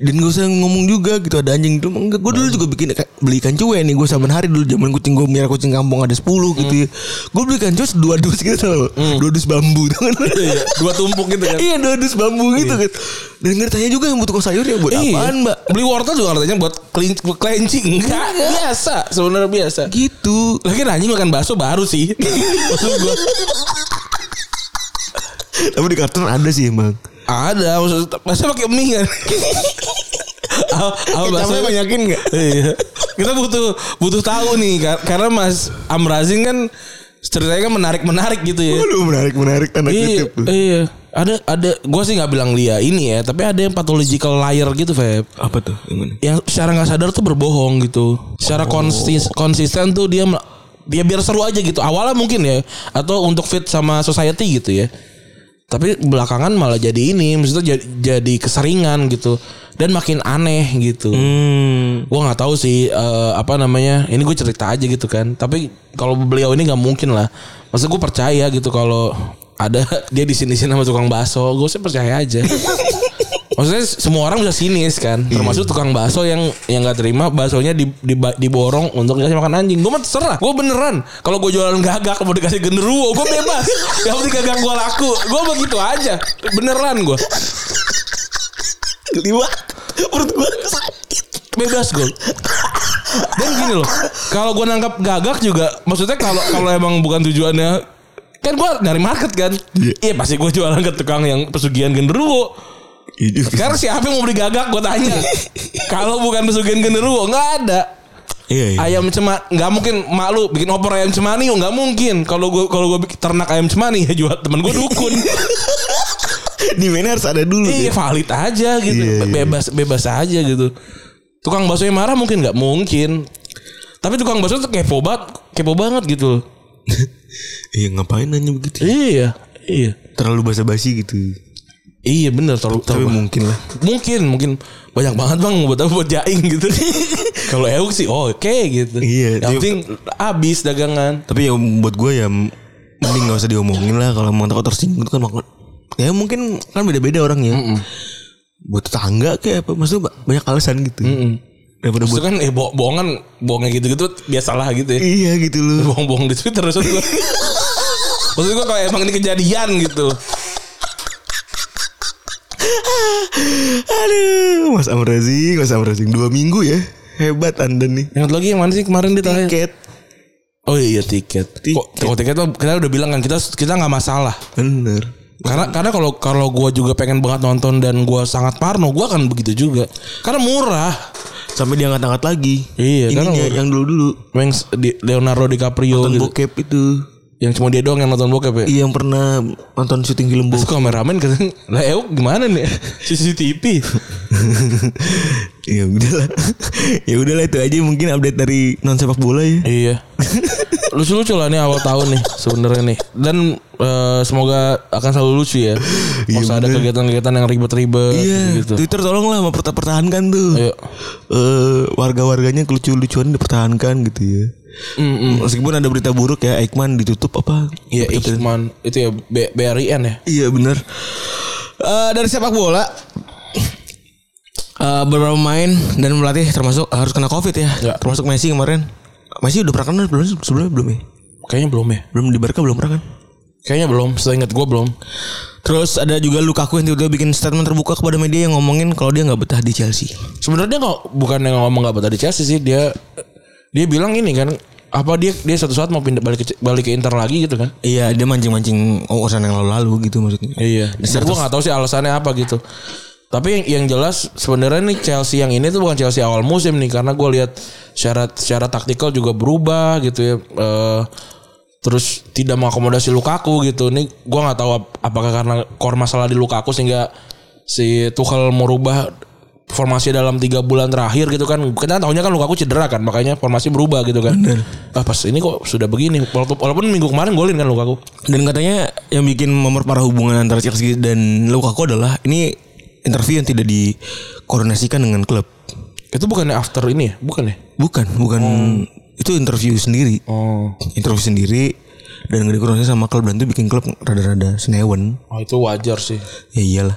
S3: Dan gak usah ngomong juga gitu ada anjing dulu enggak gue dulu juga bikin beli ikan cuek nih gue saban hari dulu zaman kucing gue merah kucing kampung ada 10 gitu ya gue beli ikan cuek dua dus gitu loh dua dus bambu tuh kan
S2: Iya, dua tumpuk gitu kan.
S3: iya dua dus bambu gitu kan dan nggak ditanya juga yang butuh kau sayurnya buat
S2: Iya.
S3: apaan mbak
S2: Beli wortel juga nggak ditanya buat clean- cleansing enggak? Biasa, sebenarnya biasa.
S3: gitu
S2: Lagi nanya makan bakso baru sih. Maksud gua
S3: tapi di kartun ada sih emang
S2: Ada maksud masa pakai mie kan? Apa- apa
S3: Kecapnya
S2: bahasa-
S3: banyakin nggak?
S2: Iya. Kita butuh butuh tahu nih kar- karena Mas Amrazin kan ceritanya kan menarik-menarik gitu ya.
S6: Waduh menarik menarik tanda
S2: Iya,
S6: kutip tuh.
S2: iya. Ada ada gua sih nggak bilang dia ini ya, tapi ada yang pathological liar gitu, Feb.
S6: Apa tuh? Yang mana?
S2: Yang Ya, secara nggak sadar tuh berbohong gitu. Secara konsis- konsisten tuh dia mel- dia biar seru aja gitu. Awalnya mungkin ya atau untuk fit sama society gitu ya. Tapi belakangan malah jadi ini, maksudnya jadi, jadi keseringan gitu dan makin aneh gitu.
S3: Hmm.
S2: Gua nggak tahu sih eh, apa namanya. Ini gue cerita aja gitu kan. Tapi kalau beliau ini nggak mungkin lah. Maksud gue percaya gitu kalau ada dia di sini sini sama tukang bakso, gue sih percaya aja. Maksudnya semua orang bisa sinis kan, termasuk tukang bakso yang yang nggak terima baksonya di, di, diborong untuk dikasih makan anjing. Gue mah terserah, gue beneran. Kalau gue jualan gagak mau dikasih genderuwo, gue bebas. yang penting gagak gue laku, gue begitu aja. Beneran gue,
S3: Geli banget. Perut gue sakit.
S2: bebas gue. Dan gini loh, kalau gue nangkap gagak juga, maksudnya kalau kalau emang bukan tujuannya, kan gue nyari market kan. Iya pasti gue jualan ke tukang yang pesugihan genderuwo.
S3: Iya,
S6: Hidup.
S2: Sekarang siapa yang mau beli gagak gue tanya. Kalau bukan pesugihan genderuwo nggak ada.
S6: Iya iya.
S2: Ayam cema nggak mungkin mak lu bikin opor ayam cemani yuk nggak mungkin. Kalau gue kalau gue bikin ternak ayam cemani ya jual temen gue dukun.
S6: Di mana harus ada dulu. ya?
S2: iya valid aja gitu.
S6: Iya, iya.
S2: Bebas bebas aja gitu. Tukang bakso yang marah mungkin nggak mungkin. Tapi tukang bakso tuh kepo banget, kepo banget gitu. loh.
S6: Iya ngapain nanya begitu?
S2: Iya, iya.
S6: Terlalu basa-basi gitu.
S2: Iya bener terlalu
S6: Tapi
S2: terlalu-
S6: mungkin lah.
S2: mungkin mungkin banyak banget bang buat apa buat jaing gitu kalau euk sih oh, oke gitu
S6: Iya,
S2: yang
S6: dia-
S2: penting habis dagangan
S6: Tapi ya buat gue ya mending gak usah diomongin lah kalau emang takut tersinggung itu kan makan. Ya mungkin kan beda-beda orangnya. Buat tetangga kayak apa maksudnya ba- banyak alasan gitu. Daripada
S2: itu
S6: buat
S2: kan eh bo- bohongan bohongnya gitu gitu biasalah gitu ya
S6: iya gitu loh.
S2: bohong bohong di twitter maksud gue maksud gue kalau emang ini kejadian gitu
S6: Aduh, Mas Amrazing, Mas Amrazing dua minggu ya. Hebat Anda nih.
S2: yang satu lagi yang mana sih kemarin di terakhir?
S6: Tiket.
S2: oh iya tiket kok
S6: Tiket.
S2: kok tiket mah kita udah bilang kan kita kita nggak masalah
S6: Bener.
S2: karena karena kalau kalau gue juga pengen banget nonton dan gue sangat parno gue akan begitu juga karena murah
S6: Sampai diangkat-angkat lagi.
S2: Iya, karena
S6: Ininya
S2: udah-
S6: yang dulu-dulu.
S2: Yang s- di- Leonardo DiCaprio
S6: Nonton
S2: gitu.
S6: bokep itu.
S2: Yang cuma dia doang yang nonton bokep ya?
S6: Iya yang pernah nonton syuting film
S2: Terus
S6: bokep.
S2: kameramen katanya, lah Euk gimana nih? CCTV.
S6: ya udahlah. ya udahlah itu aja mungkin update dari non sepak bola ya.
S2: iya. Lucu-lucu lah nih awal tahun nih sebenarnya nih. Dan eh, semoga akan selalu lucu ya. Mau
S6: Iya,
S2: ada
S6: bener.
S2: kegiatan-kegiatan yang ribet-ribet
S6: Iya,
S2: gitu. Iya.
S6: Twitter tolonglah memperta- pertahankan tuh.
S2: Ayo.
S6: Eh, warga-warganya kelucu-lucuan dipertahankan gitu ya. Meskipun ada berita buruk ya, Aikman ditutup apa?
S2: Iya, Iqman itu ya B- BRIN ya.
S6: Iya benar.
S3: Eh, dari sepak bola eh, beberapa pemain dan pelatih termasuk harus kena covid ya.
S2: Ya.
S3: Termasuk Messi kemarin.
S6: Masih udah pernah kena belum sih? sebelumnya belum ya?
S2: Kayaknya belum ya.
S6: Belum di Barca belum pernah kan?
S2: Kayaknya belum, seingat gua belum.
S3: Terus ada juga Lukaku yang tiba-tiba bikin statement terbuka kepada media yang ngomongin kalau dia nggak betah di Chelsea.
S2: Sebenarnya kok bukan yang ngomong gak betah di Chelsea sih, dia dia bilang ini kan apa dia dia suatu saat mau pindah balik ke balik ke Inter lagi gitu kan?
S6: Iya, dia mancing-mancing urusan yang lalu-lalu gitu maksudnya.
S2: Iya. Dan gue nggak tahu sih alasannya apa gitu. Tapi yang yang jelas sebenarnya nih Chelsea yang ini tuh bukan Chelsea awal musim nih karena gue lihat syarat secara taktikal juga berubah gitu ya. Eh, terus tidak mengakomodasi Lukaku gitu. Ini gue nggak tahu ap- apakah karena core masalah di Lukaku sehingga si Tuchel mau rubah formasi dalam tiga bulan terakhir gitu kan. Karena tahunya kan Lukaku cedera kan, makanya formasi berubah gitu kan. Ah pas ini kok sudah begini. Walaupun, walaupun minggu kemarin golin kan Lukaku.
S6: Dan katanya yang bikin memperparah hubungan antara Chelsea dan Lukaku adalah ini interview yang tidak dikoordinasikan dengan klub.
S2: Itu bukannya after ini ya? Bukan ya?
S6: Bukan, bukan itu interview sendiri.
S2: Oh.
S6: Interview sendiri dan gak dikoordinasi sama klub dan itu bikin klub rada-rada senewen.
S2: Oh itu wajar sih.
S6: Ya iyalah.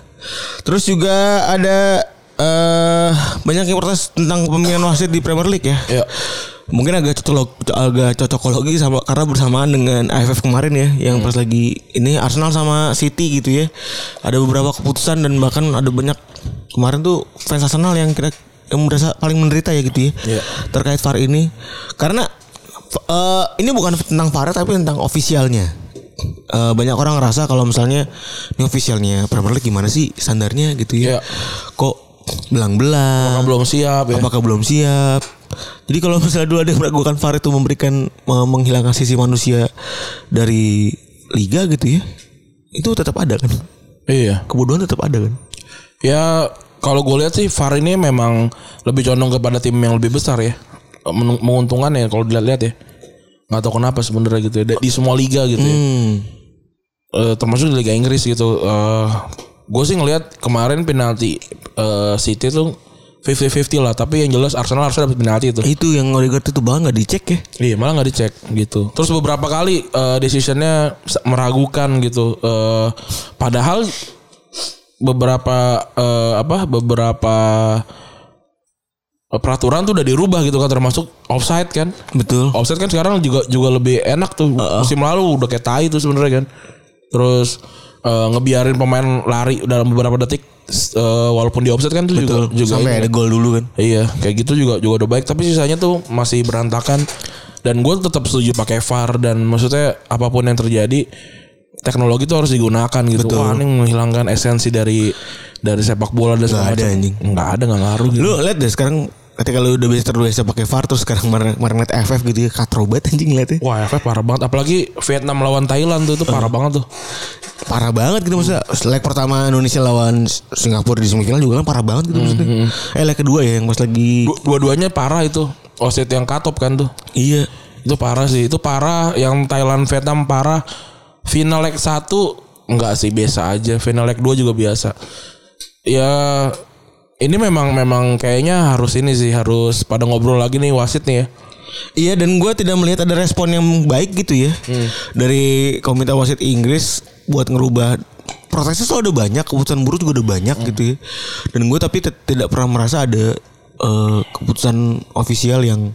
S3: Terus juga ada eh banyak yang protes tentang pemilihan wasit di Premier League ya.
S2: Ya.
S3: Mungkin agak cocok agak cocokologi sama karena bersamaan dengan AFF kemarin ya yang pas lagi ini Arsenal sama City gitu ya. Ada beberapa keputusan dan bahkan ada banyak kemarin tuh fans Arsenal yang kira yang merasa paling menderita ya gitu ya.
S2: Iya.
S3: Terkait VAR ini karena eh, ini bukan tentang VAR tapi tentang ofisialnya. Eh, banyak orang ngerasa kalau misalnya ini officialnya Premier League gimana sih standarnya gitu ya?
S2: Iya.
S3: Kok belang-belang?
S2: Apakah belum siap ya?
S3: Apakah belum siap? Jadi kalau misalnya dulu ada yang meragukan VAR itu memberikan me- menghilangkan sisi manusia dari liga gitu ya. Itu tetap ada kan.
S2: Iya.
S3: Kebodohan tetap ada kan.
S2: Ya kalau gue lihat sih VAR ini memang lebih condong kepada tim yang lebih besar ya. Men- menguntungkan ya kalau dilihat-lihat ya. Nggak tahu kenapa sebenarnya gitu ya. Di semua liga gitu ya. Eh, termasuk di Liga Inggris gitu. Eh gue sih ngelihat kemarin penalti eh, City tuh 50-50 lah. Tapi yang jelas Arsenal harusnya dapat penalti itu.
S3: Itu yang Odegaard itu banget nggak dicek ya.
S2: Iya malah nggak dicek gitu. Terus beberapa kali eh, decisionnya sa- meragukan gitu. Eh, padahal beberapa eh, apa beberapa eh, peraturan tuh udah dirubah gitu kan termasuk offside kan.
S3: Betul.
S2: Offside kan sekarang juga juga lebih enak tuh musim lalu udah kayak tai tuh sebenarnya kan. Terus eh, ngebiarin pemain lari dalam beberapa detik eh, walaupun di offside kan itu juga juga ini
S3: Sampai ada gol dulu kan.
S2: Iya, kayak gitu juga juga udah baik, tapi sisanya tuh masih berantakan. Dan gue tetap setuju pakai VAR dan maksudnya apapun yang terjadi teknologi tuh harus digunakan gitu. Wah, ini menghilangkan esensi dari dari sepak bola dan segala
S3: ada,
S2: macam.
S3: anjing.
S2: Nggak ada, nggak ngaruh gitu.
S3: Lu lihat deh sekarang ketika lu udah biasa terbiasa pakai VAR terus sekarang kemarin kemarin liat FF gitu ya katrobat anjing liatnya.
S2: Wah, efek parah banget. Apalagi Vietnam lawan Thailand tuh itu parah banget tuh.
S3: parah banget gitu maksudnya leg pertama Indonesia lawan S- Singapura di semifinal juga kan parah banget gitu maksudnya
S2: Mm-hmm.
S3: eh leg kedua ya yang pas lagi
S2: Du- Dua-duanya parah itu. Wasit yang katop kan tuh.
S3: iya
S2: Itu parah sih. Itu parah yang Thailand Vietnam parah. Final leg 1 enggak sih biasa aja. Final leg 2 juga biasa. Ya ini memang memang kayaknya harus ini sih harus pada ngobrol lagi nih wasit nih ya.
S3: iya dan gue tidak melihat ada respon yang baik gitu ya dari komite wasit Inggris buat ngerubah prosesnya selalu udah banyak keputusan buruk juga udah banyak gitu ya dan gue tapi tet- tidak pernah merasa ada eh, keputusan ofisial yang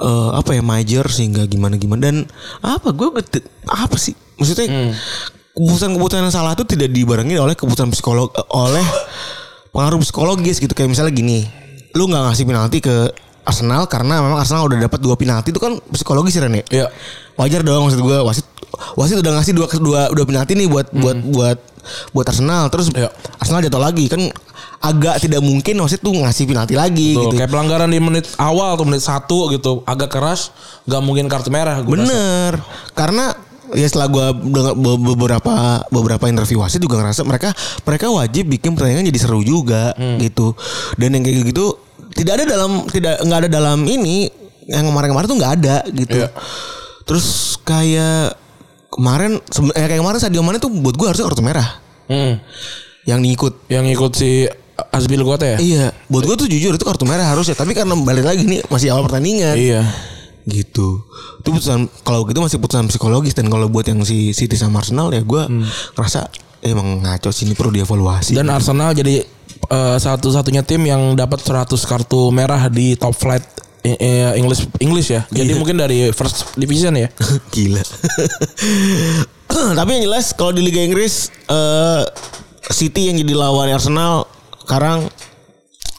S3: eh, apa ya major sehingga gimana gimana dan apa gue apa sih maksudnya keputusan-keputusan yang salah itu tidak dibarengi oleh keputusan psikolog eh, oleh pengaruh psikologis gitu kayak misalnya gini lu nggak ngasih penalti ke Arsenal karena memang Arsenal udah dapat dua penalti itu kan psikologis ya Ren ya?
S2: Iya.
S3: wajar dong maksud gue wasit wasit udah ngasih dua dua dua penalti nih buat buat buat buat Arsenal terus
S2: Hmm. Iya.
S3: Arsenal jatuh lagi kan agak tidak mungkin wasit tuh ngasih penalti lagi
S2: Tuh,
S3: gitu
S2: Kayak pelanggaran di menit awal atau menit 1 gitu agak keras nggak mungkin kartu merah gua rasa.
S3: Bener. Karena ya setelah gua dengar be- beberapa beberapa interview wasit juga ngerasa mereka mereka wajib bikin pertandingan jadi seru juga
S2: Hmm.
S3: gitu. Dan yang kayak gitu tidak ada dalam tidak nggak ada dalam ini yang kemarin-kemarin tuh nggak ada gitu.
S2: Iya.
S3: Terus kayak kemarin seben- eh, kayak kemarin Sadio Mane tuh buat gua harusnya kartu merah
S2: Hmm.
S3: yang diikut.
S2: Yang ikut si Azbil Gote ya?
S3: Iya, buat gua tuh jujur itu kartu merah harusnya, tapi karena balik lagi nih masih awal pertandingan
S2: Iya.
S3: gitu itu putusan kalau gitu masih putusan psikologis dan kalau buat yang si City sama Arsenal ya gue ngerasa emang ngaco sini perlu dievaluasi
S2: Dan Arsenal jadi eh, satu-satunya tim yang dapat 100 kartu merah di top flight eh, eh, English English ya.
S3: Iya.
S2: Jadi mungkin dari first division ya.
S3: gila tapi yang jelas kalau di Liga Inggris eh, City yang jadi lawan Arsenal sekarang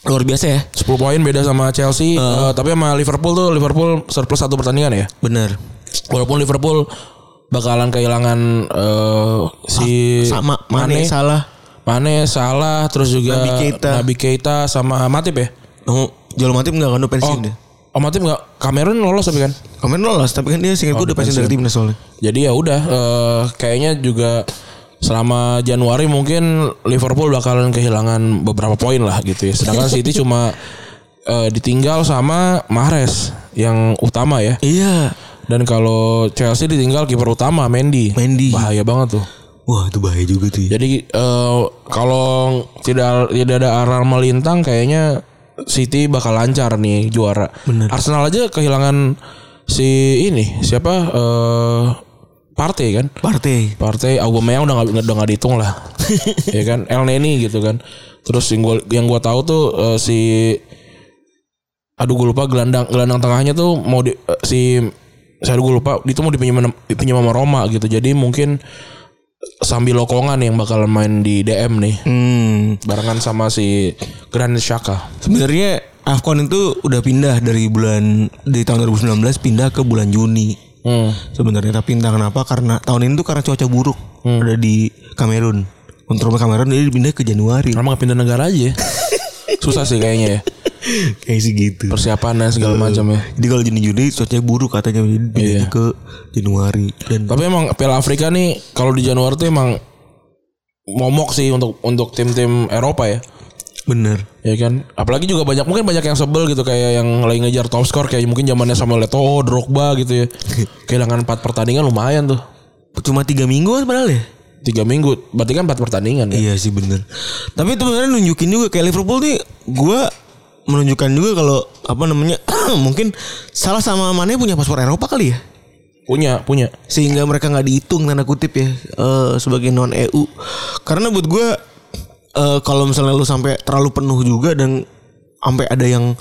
S3: luar biasa ya
S2: 10 poin beda sama Chelsea, eh, tapi sama Liverpool tuh Liverpool surplus satu pertandingan ya.
S3: bener
S2: Walaupun Liverpool bakalan kehilangan eh, si
S3: Ah, sama Iya. Mane, salah
S2: Mane salah terus juga
S3: Nabi Keita.
S2: Nabi Keita sama Matip ya.
S3: oh, Jual Matip nggak kan udah pensiun
S2: Oh,
S3: dia
S2: oh Matip nggak Kamerun lolos tapi kan.
S3: kemarin lolos tapi kan dia singkat gue udah pensiun dari timnas soalnya
S2: Jadi ya udah eh, kayaknya juga selama Januari mungkin Liverpool bakalan kehilangan beberapa poin lah gitu ya. Sedangkan City cuma eh, ditinggal sama Mahrez yang utama ya.
S3: iya
S2: Dan kalau Chelsea ditinggal kiper utama Mendy.
S3: Mendy.
S2: Bahaya banget tuh.
S3: wah itu bahaya juga tuh ya.
S2: Jadi eh, kalau tidak tidak ada arah melintang kayaknya City bakal lancar nih juara. Arsenal aja kehilangan si ini siapa eh Partey kan.
S3: partai
S2: Partey Aubameyang udah nggak udah nggak dihitung lah. ya kan El Neni gitu kan. Terus yang gua yang gua tahu tuh eh, si aduh gue lupa gelandang gelandang tengahnya tuh mau di, eh, si saya gue lupa itu mau dipinjam pinjam sama Roma gitu. Jadi mungkin sambil lokongan yang bakalan main di DM nih.
S3: hmm
S2: Barengan sama si Granit Xhaka.
S3: Sebenarnya Afcon itu udah pindah dari bulan di tahun 2019 pindah ke bulan Juni.
S2: Hmm.
S3: Sebenarnya tapi entah kenapa karena tahun ini tuh karena cuaca buruk ada di Kamerun. Untuk rumah Kamerun jadi pindah ke Januari.
S2: Kenapa nggak pindah negara aja ya? Susah sih kayaknya ya.
S3: kayak sih gitu
S2: persiapannya segala macam ya.
S3: jadi kalau jadi juni cuacanya buruk katanya jadi
S2: Iya.
S3: ke januari dan
S2: Tapi emang Piala Afrika nih kalau di Januari tuh emang momok sih untuk untuk tim-tim Eropa ya.
S3: bener
S2: Ya kan? Apalagi juga banyak mungkin banyak yang sebel gitu kayak yang lagi ngejar top score kayak mungkin zamannya Samuel Eto'o, Drogba gitu ya. Kehilangan 4 pertandingan lumayan tuh.
S3: cuma tiga minggu kan padahal ya
S2: Tiga minggu, berarti kan 4 pertandingan ya.
S3: Iya sih bener Tapi itu beneran nunjukin juga Kayak Liverpool nih Gue menunjukkan juga kalau Apa namanya Mungkin Salah sama Mane punya paspor Eropa kali ya
S2: Punya, punya.
S3: Sehingga mereka nggak dihitung Tanda kutip ya eh, Sebagai non-EU Karena buat gue eh, Kalau misalnya lu sampai terlalu penuh juga Dan Sampai ada yang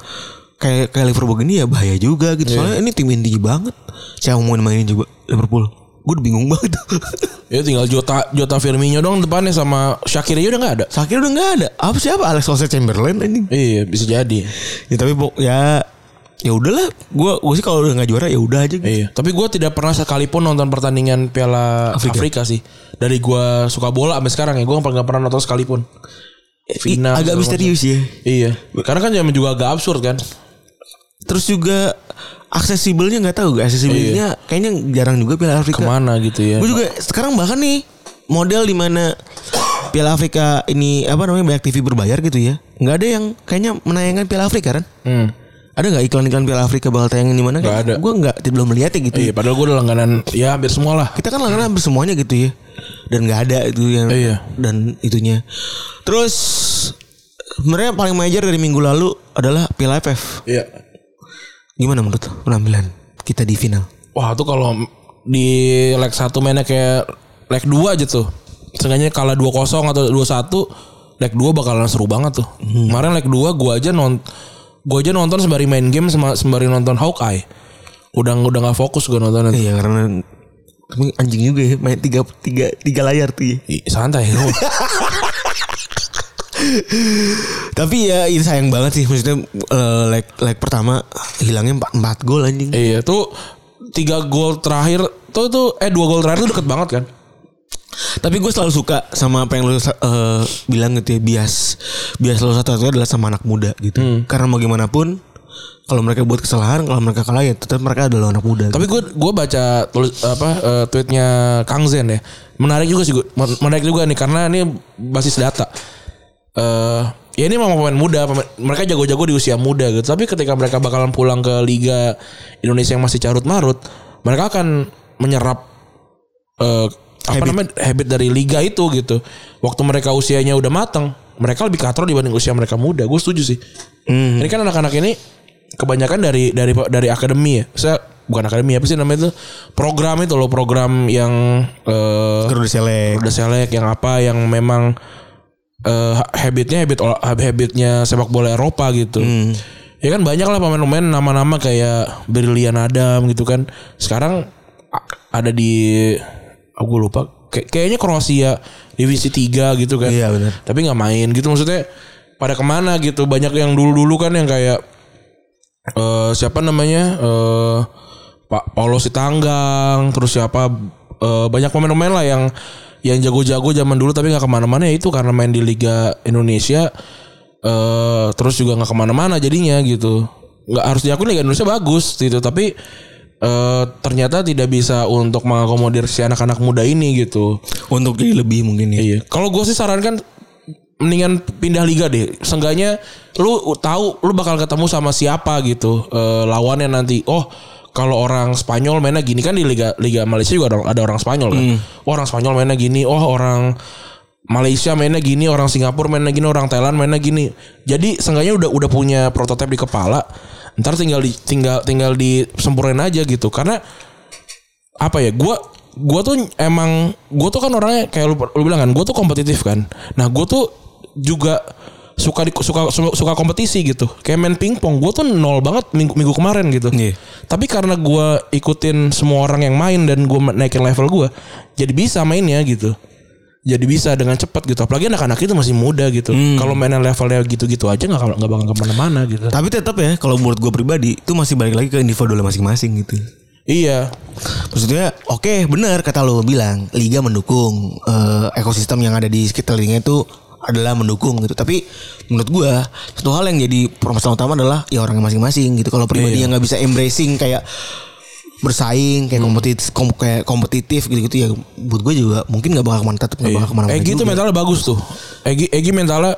S3: Kayak, kayak Liverpool gini ya bahaya juga gitu Soalnya ini tim indie banget Siapa mau mainin coba Liverpool Gue bingung banget
S2: Ya tinggal Jota Jota Firmino dong depannya sama Shakiri udah nggak ada.
S3: Sakit udah nggak ada Apa siapa Alex Oxlade-Chamberlain anjing
S2: Iya bisa jadi.
S3: ya tapi pok- ya ya udahlah gue gue sih kalau udah nggak juara ya udah aja gitu.
S2: Iya. Tapi gue tidak pernah sekalipun nonton pertandingan Piala Afrika,
S3: Afrika.
S2: sih. Dari gue suka bola sampai sekarang ya gue nggak pernah nonton sekalipun. Final,
S3: agak
S2: segala
S3: misterius ya Iya.
S2: Iya. Karena kan zaman juga agak absurd kan.
S3: terus juga aksesibelnya nggak tahu gak aksesibelnya kayaknya jarang juga Piala Afrika
S2: Kemana gitu Iya. ya.
S3: gue juga sekarang bahkan nih model di mana Piala Afrika ini apa namanya banyak TV berbayar gitu ya nggak ada yang kayaknya menayangkan Piala Afrika kan
S2: Hmm.
S3: ada nggak iklan-iklan Piala Afrika bakal tayangin di mana
S2: Nggak ada.
S3: gue nggak belum melihat ya gitu
S2: Iya. Padahal gue udah langganan ya hampir semua lah.
S3: kita kan langganan hampir semuanya gitu ya dan nggak ada itu yang
S2: Iya.
S3: dan itunya terus sebenarnya paling major dari minggu lalu adalah Piala FF
S2: Iya.
S3: gimana menurut lo penampilan kita di final
S2: Wah tuh kalau di leg 1 mainnya kayak leg 2 aja tuh. Seenggaknya kalah 2-0 atau 2-1, leg 2 bakalan seru banget tuh. Kemarin leg 2 gua aja non gua aja nonton sembari main game sama- sembari nonton Hawkeye. Udah udah nggak fokus gua nonton nanti.
S3: iya karena kami anjing juga ya main tiga tiga tiga layar tuh ya.
S2: Ih, Santai. lu.
S3: tapi ya ini sayang banget sih maksudnya eh, leg leg pertama hilangnya empat empat gol anjing
S2: iya, tuh 3 gol terakhir tuh tuh eh 2 gol terakhir tuh deket banget kan.
S3: Tapi gue selalu suka sama apa yang lu eh, bilang gitu ya bias bias lo satu satunya adalah sama anak muda gitu.
S2: Hmm.
S3: Karena mau gimana pun kalau mereka buat kesalahan kalau mereka kalah ya tetap mereka adalah anak muda. Hmm.
S2: Tapi gue gue baca tulis apa eh, tweetnya Kang Zen ya. Menarik juga sih gue. Menarik juga nih karena ini basis data. Eh ya ini memang pemain muda, pemain- mereka jago-jago di usia muda gitu. Tapi ketika mereka bakalan pulang ke liga Indonesia yang masih carut marut, mereka akan menyerap eh apa
S3: Habit.
S2: namanya habit dari liga itu gitu. Waktu mereka usianya udah matang, mereka lebih katro dibanding usia mereka muda. Gue setuju sih. Ini kan anak-anak ini kebanyakan dari dari dari akademi ya. Saya bukan akademi apa sih namanya itu program itu loh program yang eh
S3: Karena udah selek.
S2: udah selek yang apa yang memang eh, habitnya habit olah- habitnya sepak bola Eropa gitu.
S3: Hmm.
S2: Ya kan banyak lah pemain-pemain nama-nama kayak Brilian Adam gitu kan. Sekarang a- ada di aku lupa Kay- kayaknya Kroasia divisi 3 gitu kan.
S3: Iya, benar.
S2: Tapi nggak main gitu maksudnya pada kemana gitu banyak yang dulu-dulu kan yang kayak eh siapa namanya eh Pak Paulo Sitanggang terus siapa eh, banyak pemain-pemain lah yang yang jago-jago zaman dulu tapi nggak kemana-mana ya itu karena main di Liga Indonesia eh terus juga nggak kemana-mana jadinya gitu nggak harus diakui Liga Indonesia bagus gitu tapi eh ternyata tidak bisa untuk mengakomodir si anak-anak muda ini gitu
S3: Untuk jadi lebih mungkin ya.
S2: Iya. Kalau gue sih sarankan mendingan pindah liga deh. Seenggaknya lu tahu lu bakal ketemu sama siapa gitu eh, lawannya nanti. Oh, kalau orang Spanyol mainnya gini kan di liga liga Malaysia juga ada, ada orang Spanyol kan. Oh, orang Spanyol mainnya gini. Oh, orang Malaysia mainnya gini, orang Singapura mainnya gini, orang Thailand mainnya gini. Jadi seenggaknya udah udah punya prototipe di kepala. Ntar tinggal di, tinggal tinggal disempurnain aja gitu. Karena apa ya gua gua tuh emang gua tuh kan orangnya kayak lu, lu bilang kan gua tuh kompetitif kan nah gua tuh juga suka di, suka su- suka kompetisi gitu kayak main pingpong gua tuh nol banget minggu minggu kemarin gitu
S3: Iya.
S2: tapi karena gua ikutin semua orang yang main dan gua naikin level gua jadi bisa mainnya gitu jadi bisa dengan cepat gitu apalagi anak-anak itu masih muda gitu
S3: Hmm.
S2: kalau mainan levelnya gitu-gitu aja nggak nggak bakal kemana-mana gitu
S3: Tapi tetap ya kalau menurut gue pribadi itu masih balik lagi ke individualnya masing-masing gitu.
S2: iya
S3: Maksudnya oke benar kata lo bilang liga mendukung eh, ekosistem yang ada di sekitarnya itu adalah mendukung gitu. Tapi menurut gua satu hal yang jadi permasalahan utama adalah ya orangnya masing-masing gitu. Kalau
S2: Iya,
S3: pribadinya nggak bisa embracing kayak bersaing kayak
S2: Hmm.
S3: kompetitif kom- kayak kompetitif gitu-gitu ya buat gue juga mungkin nggak bakal kemana tetap nggak
S2: Iya.
S3: bakal kemana-mana
S2: Egi tuh
S3: juga.
S2: mentalnya bagus tuh. Egi Egi mentalnya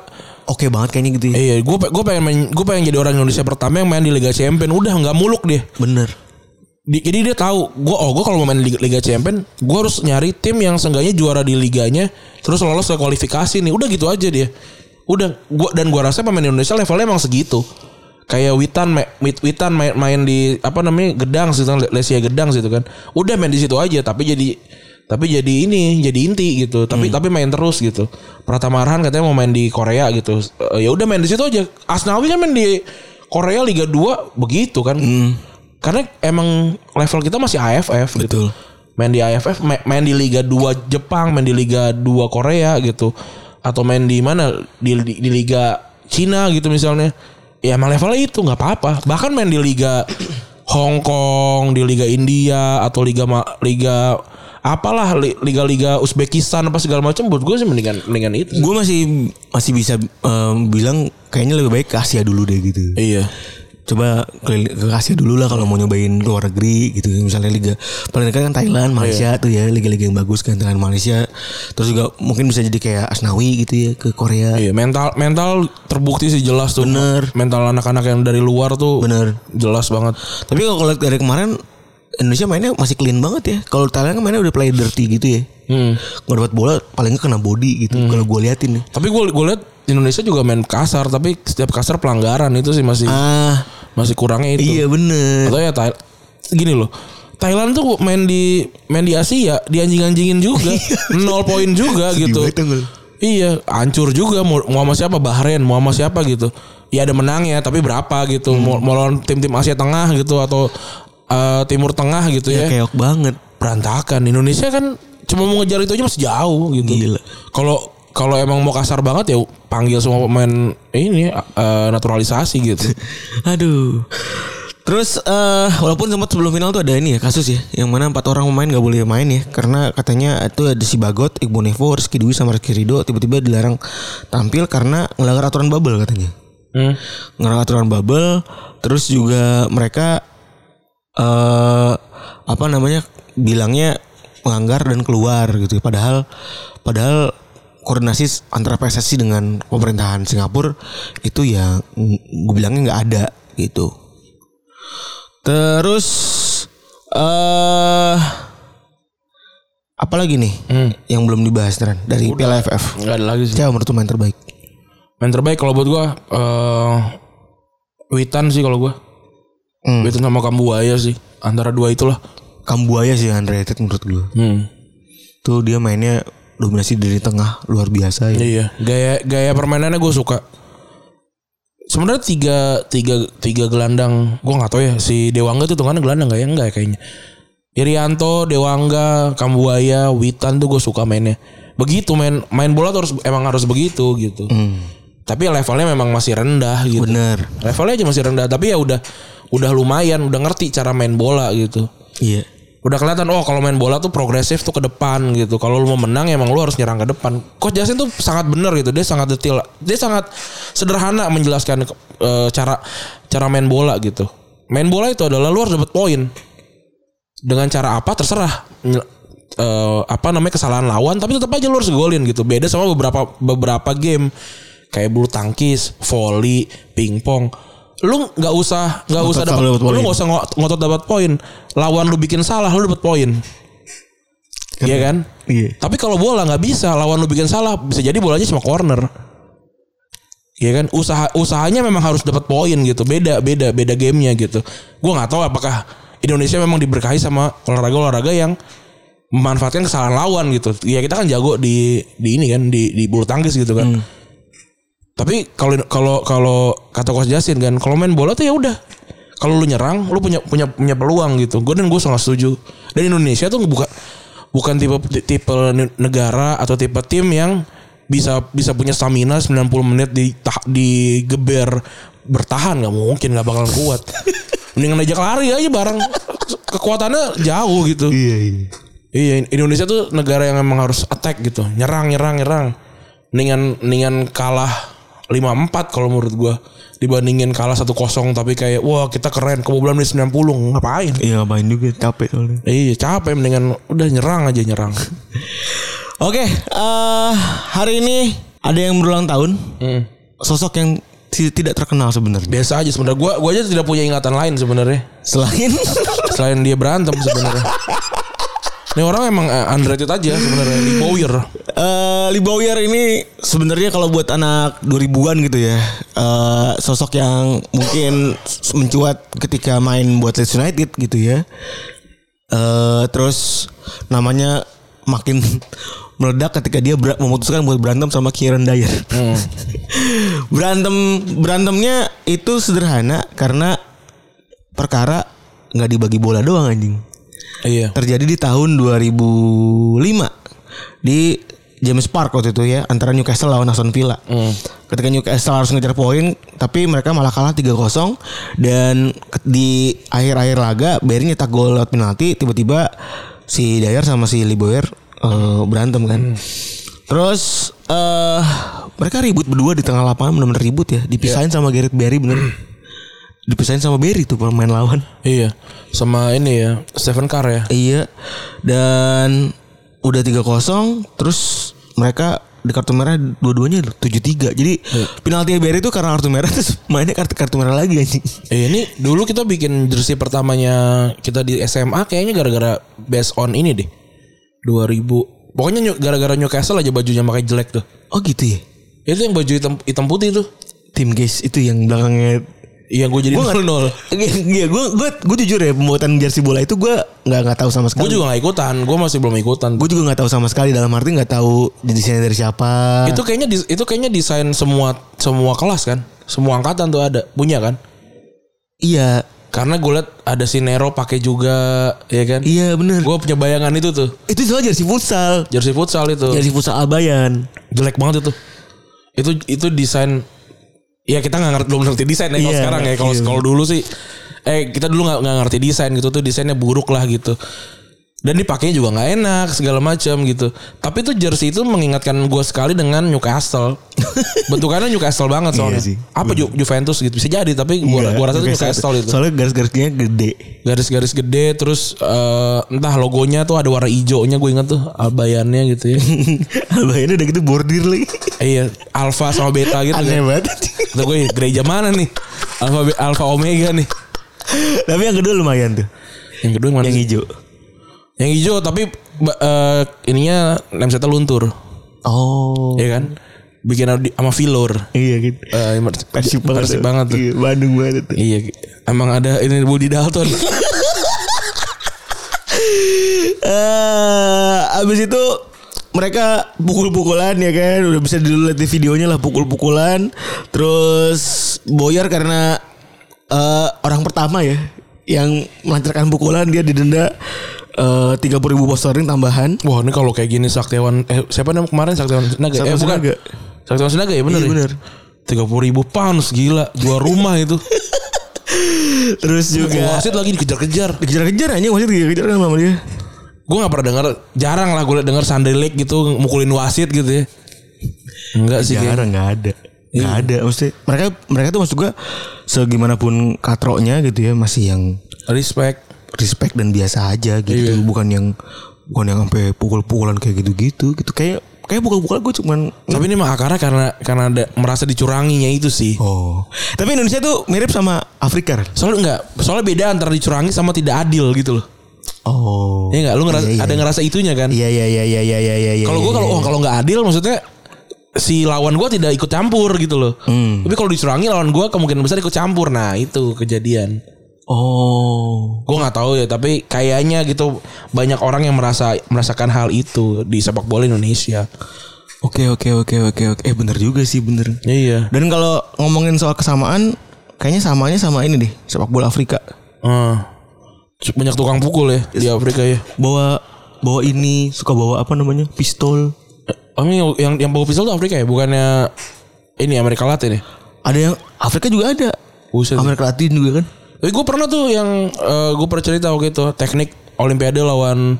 S3: oke banget kayaknya gitu ya.
S2: eh, iya, gue gue pengen main, gue pengen jadi orang Indonesia pertama yang main di Liga Champion. Udah nggak muluk dia.
S3: bener
S2: Di- jadi dia tahu gue oh gue kalau mau main Liga, Liga Champion gue harus nyari tim yang seenggaknya juara di liganya terus lolos ke kualifikasi nih udah gitu aja dia udah gua dan gua rasa pemain Indonesia levelnya emang segitu kayak Witan ma- Wit- Witan main, main di apa namanya Gedang sih Le- Lesia Gedang situ kan udah main di situ aja tapi jadi tapi jadi ini jadi inti gitu tapi tapi main terus gitu Pratama Arhan katanya mau main di Korea gitu Eh, ya udah main di situ aja Asnawi kan main di Korea Liga 2 begitu kan
S3: Hmm.
S2: karena emang level kita masih AFF gitu.
S3: Betul.
S2: Main di AFF, ma- main di Liga 2 Jepang, main di Liga 2 Korea gitu. Atau main di mana di, di, di Liga Cina gitu misalnya. Ya emang levelnya itu nggak apa-apa. Bahkan main di Liga Hong Kong, di Liga India atau Liga Ma- Liga apalah li- liga-liga Uzbekistan apa segala macam buat gue sih mendingan mendingan itu.
S3: gue masih masih bisa em, bilang kayaknya lebih baik ke Asia dulu deh gitu
S2: Iya.
S3: coba ke, ke Asia dulu lah kalau mau nyobain luar negeri gitu misalnya liga paling dekat kan Thailand Malaysia tuh ya liga-liga yang bagus kan Thailand Malaysia terus juga mungkin bisa jadi kayak Asnawi gitu ya ke Korea
S2: Iya, mental mental terbukti sih jelas tuh.
S3: Bener.
S2: Mental anak-anak yang dari luar tuh
S3: Bener.
S2: jelas banget.
S3: tapi kalau kalau dari kemarin Indonesia mainnya masih clean banget ya kalau Thailand kan mainnya udah play dirty gitu ya
S2: Hmm.
S3: nggak dapat bola paling nggak kena body gitu kalau gue liatin ya
S2: Tapi gue gue lihat Indonesia juga main kasar, tapi setiap kasar pelanggaran itu sih masih
S3: ah
S2: masih kurangnya itu.
S3: iya bener
S2: Atau ya Thail- gini loh. Thailand tuh main di main di Asia dianjing-anjingin juga, nol poin juga gitu.
S3: Iya. banget, Tanggul.
S2: Iya, hancur juga mau, mau sama siapa Bahrain, mau sama siapa gitu. Ya ada menangnya tapi berapa
S3: Hmm.
S2: gitu. Mau, mau lawan tim-tim Asia Tengah gitu atau eh, Timur Tengah gitu ya.
S3: keok banget
S2: berantakan. Indonesia kan cuma mau ngejar itu aja masih jauh gitu.
S3: Gila.
S2: Kalau kalau emang mau kasar banget ya panggil semua pemain ini eh, naturalisasi gitu.
S3: Aduh. Terus eh walaupun sempat sebelum final tuh ada ini ya kasus ya, yang mana empat orang pemain nggak boleh main ya, karena katanya itu ada si Bagot, Iqbal Nevo, Rizky Dwi sama Rizky Ridho tiba-tiba dilarang tampil karena ngelanggar aturan bubble katanya.
S2: Hmm.
S3: Ngelanggar aturan bubble, terus juga mereka eh apa namanya bilangnya melanggar dan keluar gitu ya. padahal padahal koordinasi antara PSSI dengan pemerintahan Singapura itu ya mm, gue bilangnya nggak ada gitu terus eh apa lagi nih yang belum dibahas Tren dari PLFF
S2: Gak ada lagi sih.
S3: siapa menurut lu main terbaik
S2: Main terbaik kalau buat gua eh Witan sih kalau gua.
S3: Hmm.
S2: Witan sama Kambuaya sih. Antara dua itulah.
S3: Kambuaya sih yang underrated menurut gue
S2: Hmm.
S3: tuh dia mainnya dominasi dari tengah luar biasa ya
S2: Iya, gaya gaya permainannya gue suka. Sebenarnya tiga tiga tiga gelandang, gue nggak tahu ya si Dewangga tuh kan gelandang nggak ya enggak ya kayaknya. Irianto, Dewangga, Kambuaya, Witan tuh gue suka mainnya. Begitu main main bola tuh harus emang harus begitu gitu. Tapi levelnya memang masih rendah gitu.
S3: Hmm. Bener.
S2: Levelnya aja masih rendah, tapi ya udah udah lumayan, udah ngerti cara main bola gitu
S3: Iya.
S2: udah kelihatan oh kalau main bola tuh progresif tuh ke depan gitu kalau lu mau menang emang lu harus nyerang ke depan coach Justin tuh sangat benar gitu dia sangat detail dia sangat sederhana menjelaskan ke- eh, cara cara main bola gitu main bola itu adalah lu harus dapat poin dengan cara apa terserah Nyel- eh, apa namanya kesalahan lawan tapi tetap aja lu harus golin gitu beda sama beberapa beberapa game kayak bulu tangkis volley pingpong lu nggak usah nggak usah dapat
S3: selalu dapat
S2: lu
S3: poin.
S2: nggak usah ngo- ngotot dapat poin lawan lu bikin salah lu dapat poin Iya kan?
S3: Iya.
S2: Tapi kalau bola nggak bisa, lawan lu bikin salah, bisa jadi bolanya cuma corner. Iya kan? Usaha usahanya memang harus dapat poin gitu. Beda beda beda gamenya gitu. Gua nggak tahu apakah Indonesia memang diberkahi sama olahraga-olahraga yang memanfaatkan kesalahan lawan gitu. Ya kita kan jago di di ini kan di di bulu tangkis gitu kan. Tapi kalau kalau kalau kata Coach Justin kan kalau main bola tuh ya udah kalau lu nyerang lu punya punya punya peluang gitu. Gue dan gue sangat setuju. Dan Indonesia tuh bukan bukan tipe tipe negara atau tipe tim yang bisa bisa punya stamina 90 menit di digeber bertahan nggak mungkin nggak bakalan kuat. Mendingan ajak lari aja bareng kekuatannya jauh gitu.
S3: Iya, iya.
S2: Iya, Indonesia tuh negara yang emang harus attack gitu, nyerang, nyerang, nyerang. Mendingan mendingan kalah 5-4 kalau menurut gua dibandingin kalah 1-0 tapi kayak wah kita keren kebobolan di 90 ngapain?
S3: Iya ngapain juga capek soalnya.
S2: Iya capek mendingan udah nyerang aja nyerang.
S3: Oke, eh, hari ini ada yang berulang tahun. Sosok yang ti- tidak terkenal sebenarnya.
S2: Biasa aja sebenarnya gua gua aja tidak punya ingatan lain sebenarnya.
S3: Selain
S2: Selain dia berantem sebenarnya. Ini orang emang eh, underrated aja sebenarnya di Bowyer.
S3: eh Lee Bowyer ini sebenarnya kalau buat anak 2000-an gitu ya. eh, sosok yang mungkin s- mencuat ketika main buat Leeds United gitu ya. eh terus namanya makin meledak ketika dia ber- memutuskan buat berantem sama Kieran Dyer. berantem berantemnya itu sederhana karena perkara nggak dibagi bola doang anjing
S2: Iya.
S3: terjadi di tahun 2005 di James Park waktu itu ya antara Newcastle lawan Aston Villa. Ketika Newcastle harus ngejar poin tapi mereka malah kalah 3-0 dan ke- di akhir-akhir laga Barry nyetak gol lewat penalti tiba-tiba si Dyer sama si Liboyer eh, berantem kan. Terus eh mereka ribut berdua di tengah lapangan bener-bener ribut ya. Dipisahin sama Gareth Barry bener. Dipisahin sama Barry tuh pemain lawan.
S2: Iya. Sama ini ya, Stephen Carr ya.
S3: Iya. Dan udah 3-0 terus mereka di kartu merah dua-duanya loh, 7-3. Jadi penalti Barry itu karena kartu merah terus mainnya kartu kartu merah lagi anjing.
S2: Eh, ini dulu kita bikin jersey pertamanya kita di SMA kayaknya gara-gara based on ini deh. 2000. Pokoknya New- gara-gara Newcastle aja bajunya pakai jelek tuh.
S3: Oh gitu ya.
S2: Itu yang baju hitam, hitam putih tuh.
S3: Tim guys itu yang belakangnya
S2: Iya gue jadi
S3: Gua nggak-
S2: nol nol.
S3: Iya, gue gue gue jujur ya pembuatan jersey bola itu gue nggak nggak tahu sama
S2: Gue
S3: sekali.
S2: juga gak ikutan. Gue masih belum ikutan.
S3: Gue juga nggak tahu sama sekali dalam arti nggak tahu jenisnya dari siapa.
S2: itu kayaknya dis- itu kayaknya desain semua semua kelas kan, semua angkatan tuh ada punya kan.
S3: Iya,
S2: Karena gue liat ada si Nero pakai juga, ya kan?
S3: iya bener.
S2: Gue punya bayangan itu tuh
S3: Itu soal jersey futsal,
S2: jersey futsal itu.
S3: jersey futsal Albayan.
S2: jelek banget itu itu itu desain ya kita nggak ngerti belum ngerti desain ya kalau
S3: Iya,
S2: sekarang ya kalau
S3: iya.
S2: kalau dulu sih eh kita dulu nggak nggak ngerti desain gitu tuh desainnya buruk lah gitu dan dipakainya juga nggak enak segala macam gitu tapi tuh jersey itu mengingatkan gue sekali dengan Newcastle bentukannya Newcastle banget soalnya
S3: Iya sih.
S2: apa Ju- Juventus gitu bisa jadi tapi gue
S3: Nggak,
S2: gua rasa tuh
S3: Newcastle.
S2: Newcastle itu
S3: Iya, Soalnya garis-garisnya gede.
S2: garis-garis gede terus eh, entah logonya tuh ada warna hijaunya gue inget tuh albayannya gitu ya
S3: Albayannya udah gitu ya. bordir lagi.
S2: iya alfa sama beta gitu kan.
S3: Aneh banget.
S2: Kata gue gereja mana nih? Alfa Alfa Omega nih.
S3: Tapi yang kedua lumayan tuh.
S2: Yang kedua yang mana?
S3: Yang
S2: sih?
S3: hijau.
S2: Yang hijau tapi ba- eh, ininya lemsetnya luntur,
S3: Oh.
S2: ya kan? Bikin di- sama filor.
S3: Iya gitu.
S2: Eh, mer-
S3: Persib banget.
S2: Persib
S3: tuh.
S2: banget tuh.
S3: Iya, Bandung banget tuh.
S2: Iya, emang ada ini Budi Dalton.
S3: Eh, abis itu mereka pukul-pukulan ya kan udah bisa dilihat di videonya lah pukul-pukulan terus Boyar karena eh, orang pertama ya yang melancarkan pukulan dia didenda eh, tiga puluh ribu pound tambahan
S2: Wah, ini kalau kayak gini Saktiawan eh siapa namanya kemarin Saktiawan Sinaga?
S3: Saktiawan
S2: eh, bukan.
S3: Sinaga.
S2: Saktiawan Sinaga ya bener
S3: Iya, bener.
S2: Tiga puluh ribu pounds gila jual rumah itu.
S3: terus juga
S2: Wasit lagi dikejar-kejar.
S3: dikejar-kejar aja wasit dikejar-kejar kan sama dia
S2: Gue gak pernah denger Jarang lah gue denger Sunday Lake gitu Mukulin wasit gitu ya Enggak sih kayaknya.
S3: nggak ada nggak ada maksudnya mereka mereka tuh maksud gua segimanapun katroknya gitu ya masih yang
S2: Respect
S3: respect dan biasa aja gitu bukan yang bukan yang sampai pukul-pukulan kayak gitu-gitu gitu kayak kayak pukul-pukulan gue cuman
S2: Tapi ini mah akarnya karena karena ada, merasa dicuranginya itu sih.
S3: oh tapi Indonesia tuh mirip sama Afrika kan?
S2: Soalnya enggak, soalnya beda antara dicurangi sama tidak adil gitu loh.
S3: oh
S2: Iya enggak? Lu ngerasa
S3: Iya, iya.
S2: ada ngerasa itunya kan?
S3: iya iya iya iya iya iya iya
S2: Kalau gua
S3: iya,
S2: kalau
S3: iya.
S2: oh kalau nggak adil maksudnya si lawan gua tidak ikut campur gitu loh.
S3: Hmm.
S2: Tapi kalau dicurangi lawan gua kemungkinan besar ikut campur. Nah, itu kejadian.
S3: oh
S2: Gua nggak tahu ya, tapi kayaknya gitu banyak orang yang merasa merasakan hal itu di sepak bola Indonesia.
S3: oke oke oke oke oke eh bener juga sih bener
S2: Iya.
S3: dan kalau ngomongin soal kesamaan kayaknya samanya sama ini deh sepak bola Afrika
S2: Eh. Banyak tukang pukul ya di Afrika ya.
S3: bawa bawa ini suka bawa apa namanya pistol
S2: Oh, ini yang yang bawa pistol tuh Afrika ya, bukannya ini Amerika Latin ya?
S3: ada yang Afrika juga ada
S2: Buset.
S3: Amerika Latin juga kan
S2: Eh, gue pernah tuh yang eh, gue pernah cerita waktu itu teknik Olimpiade lawan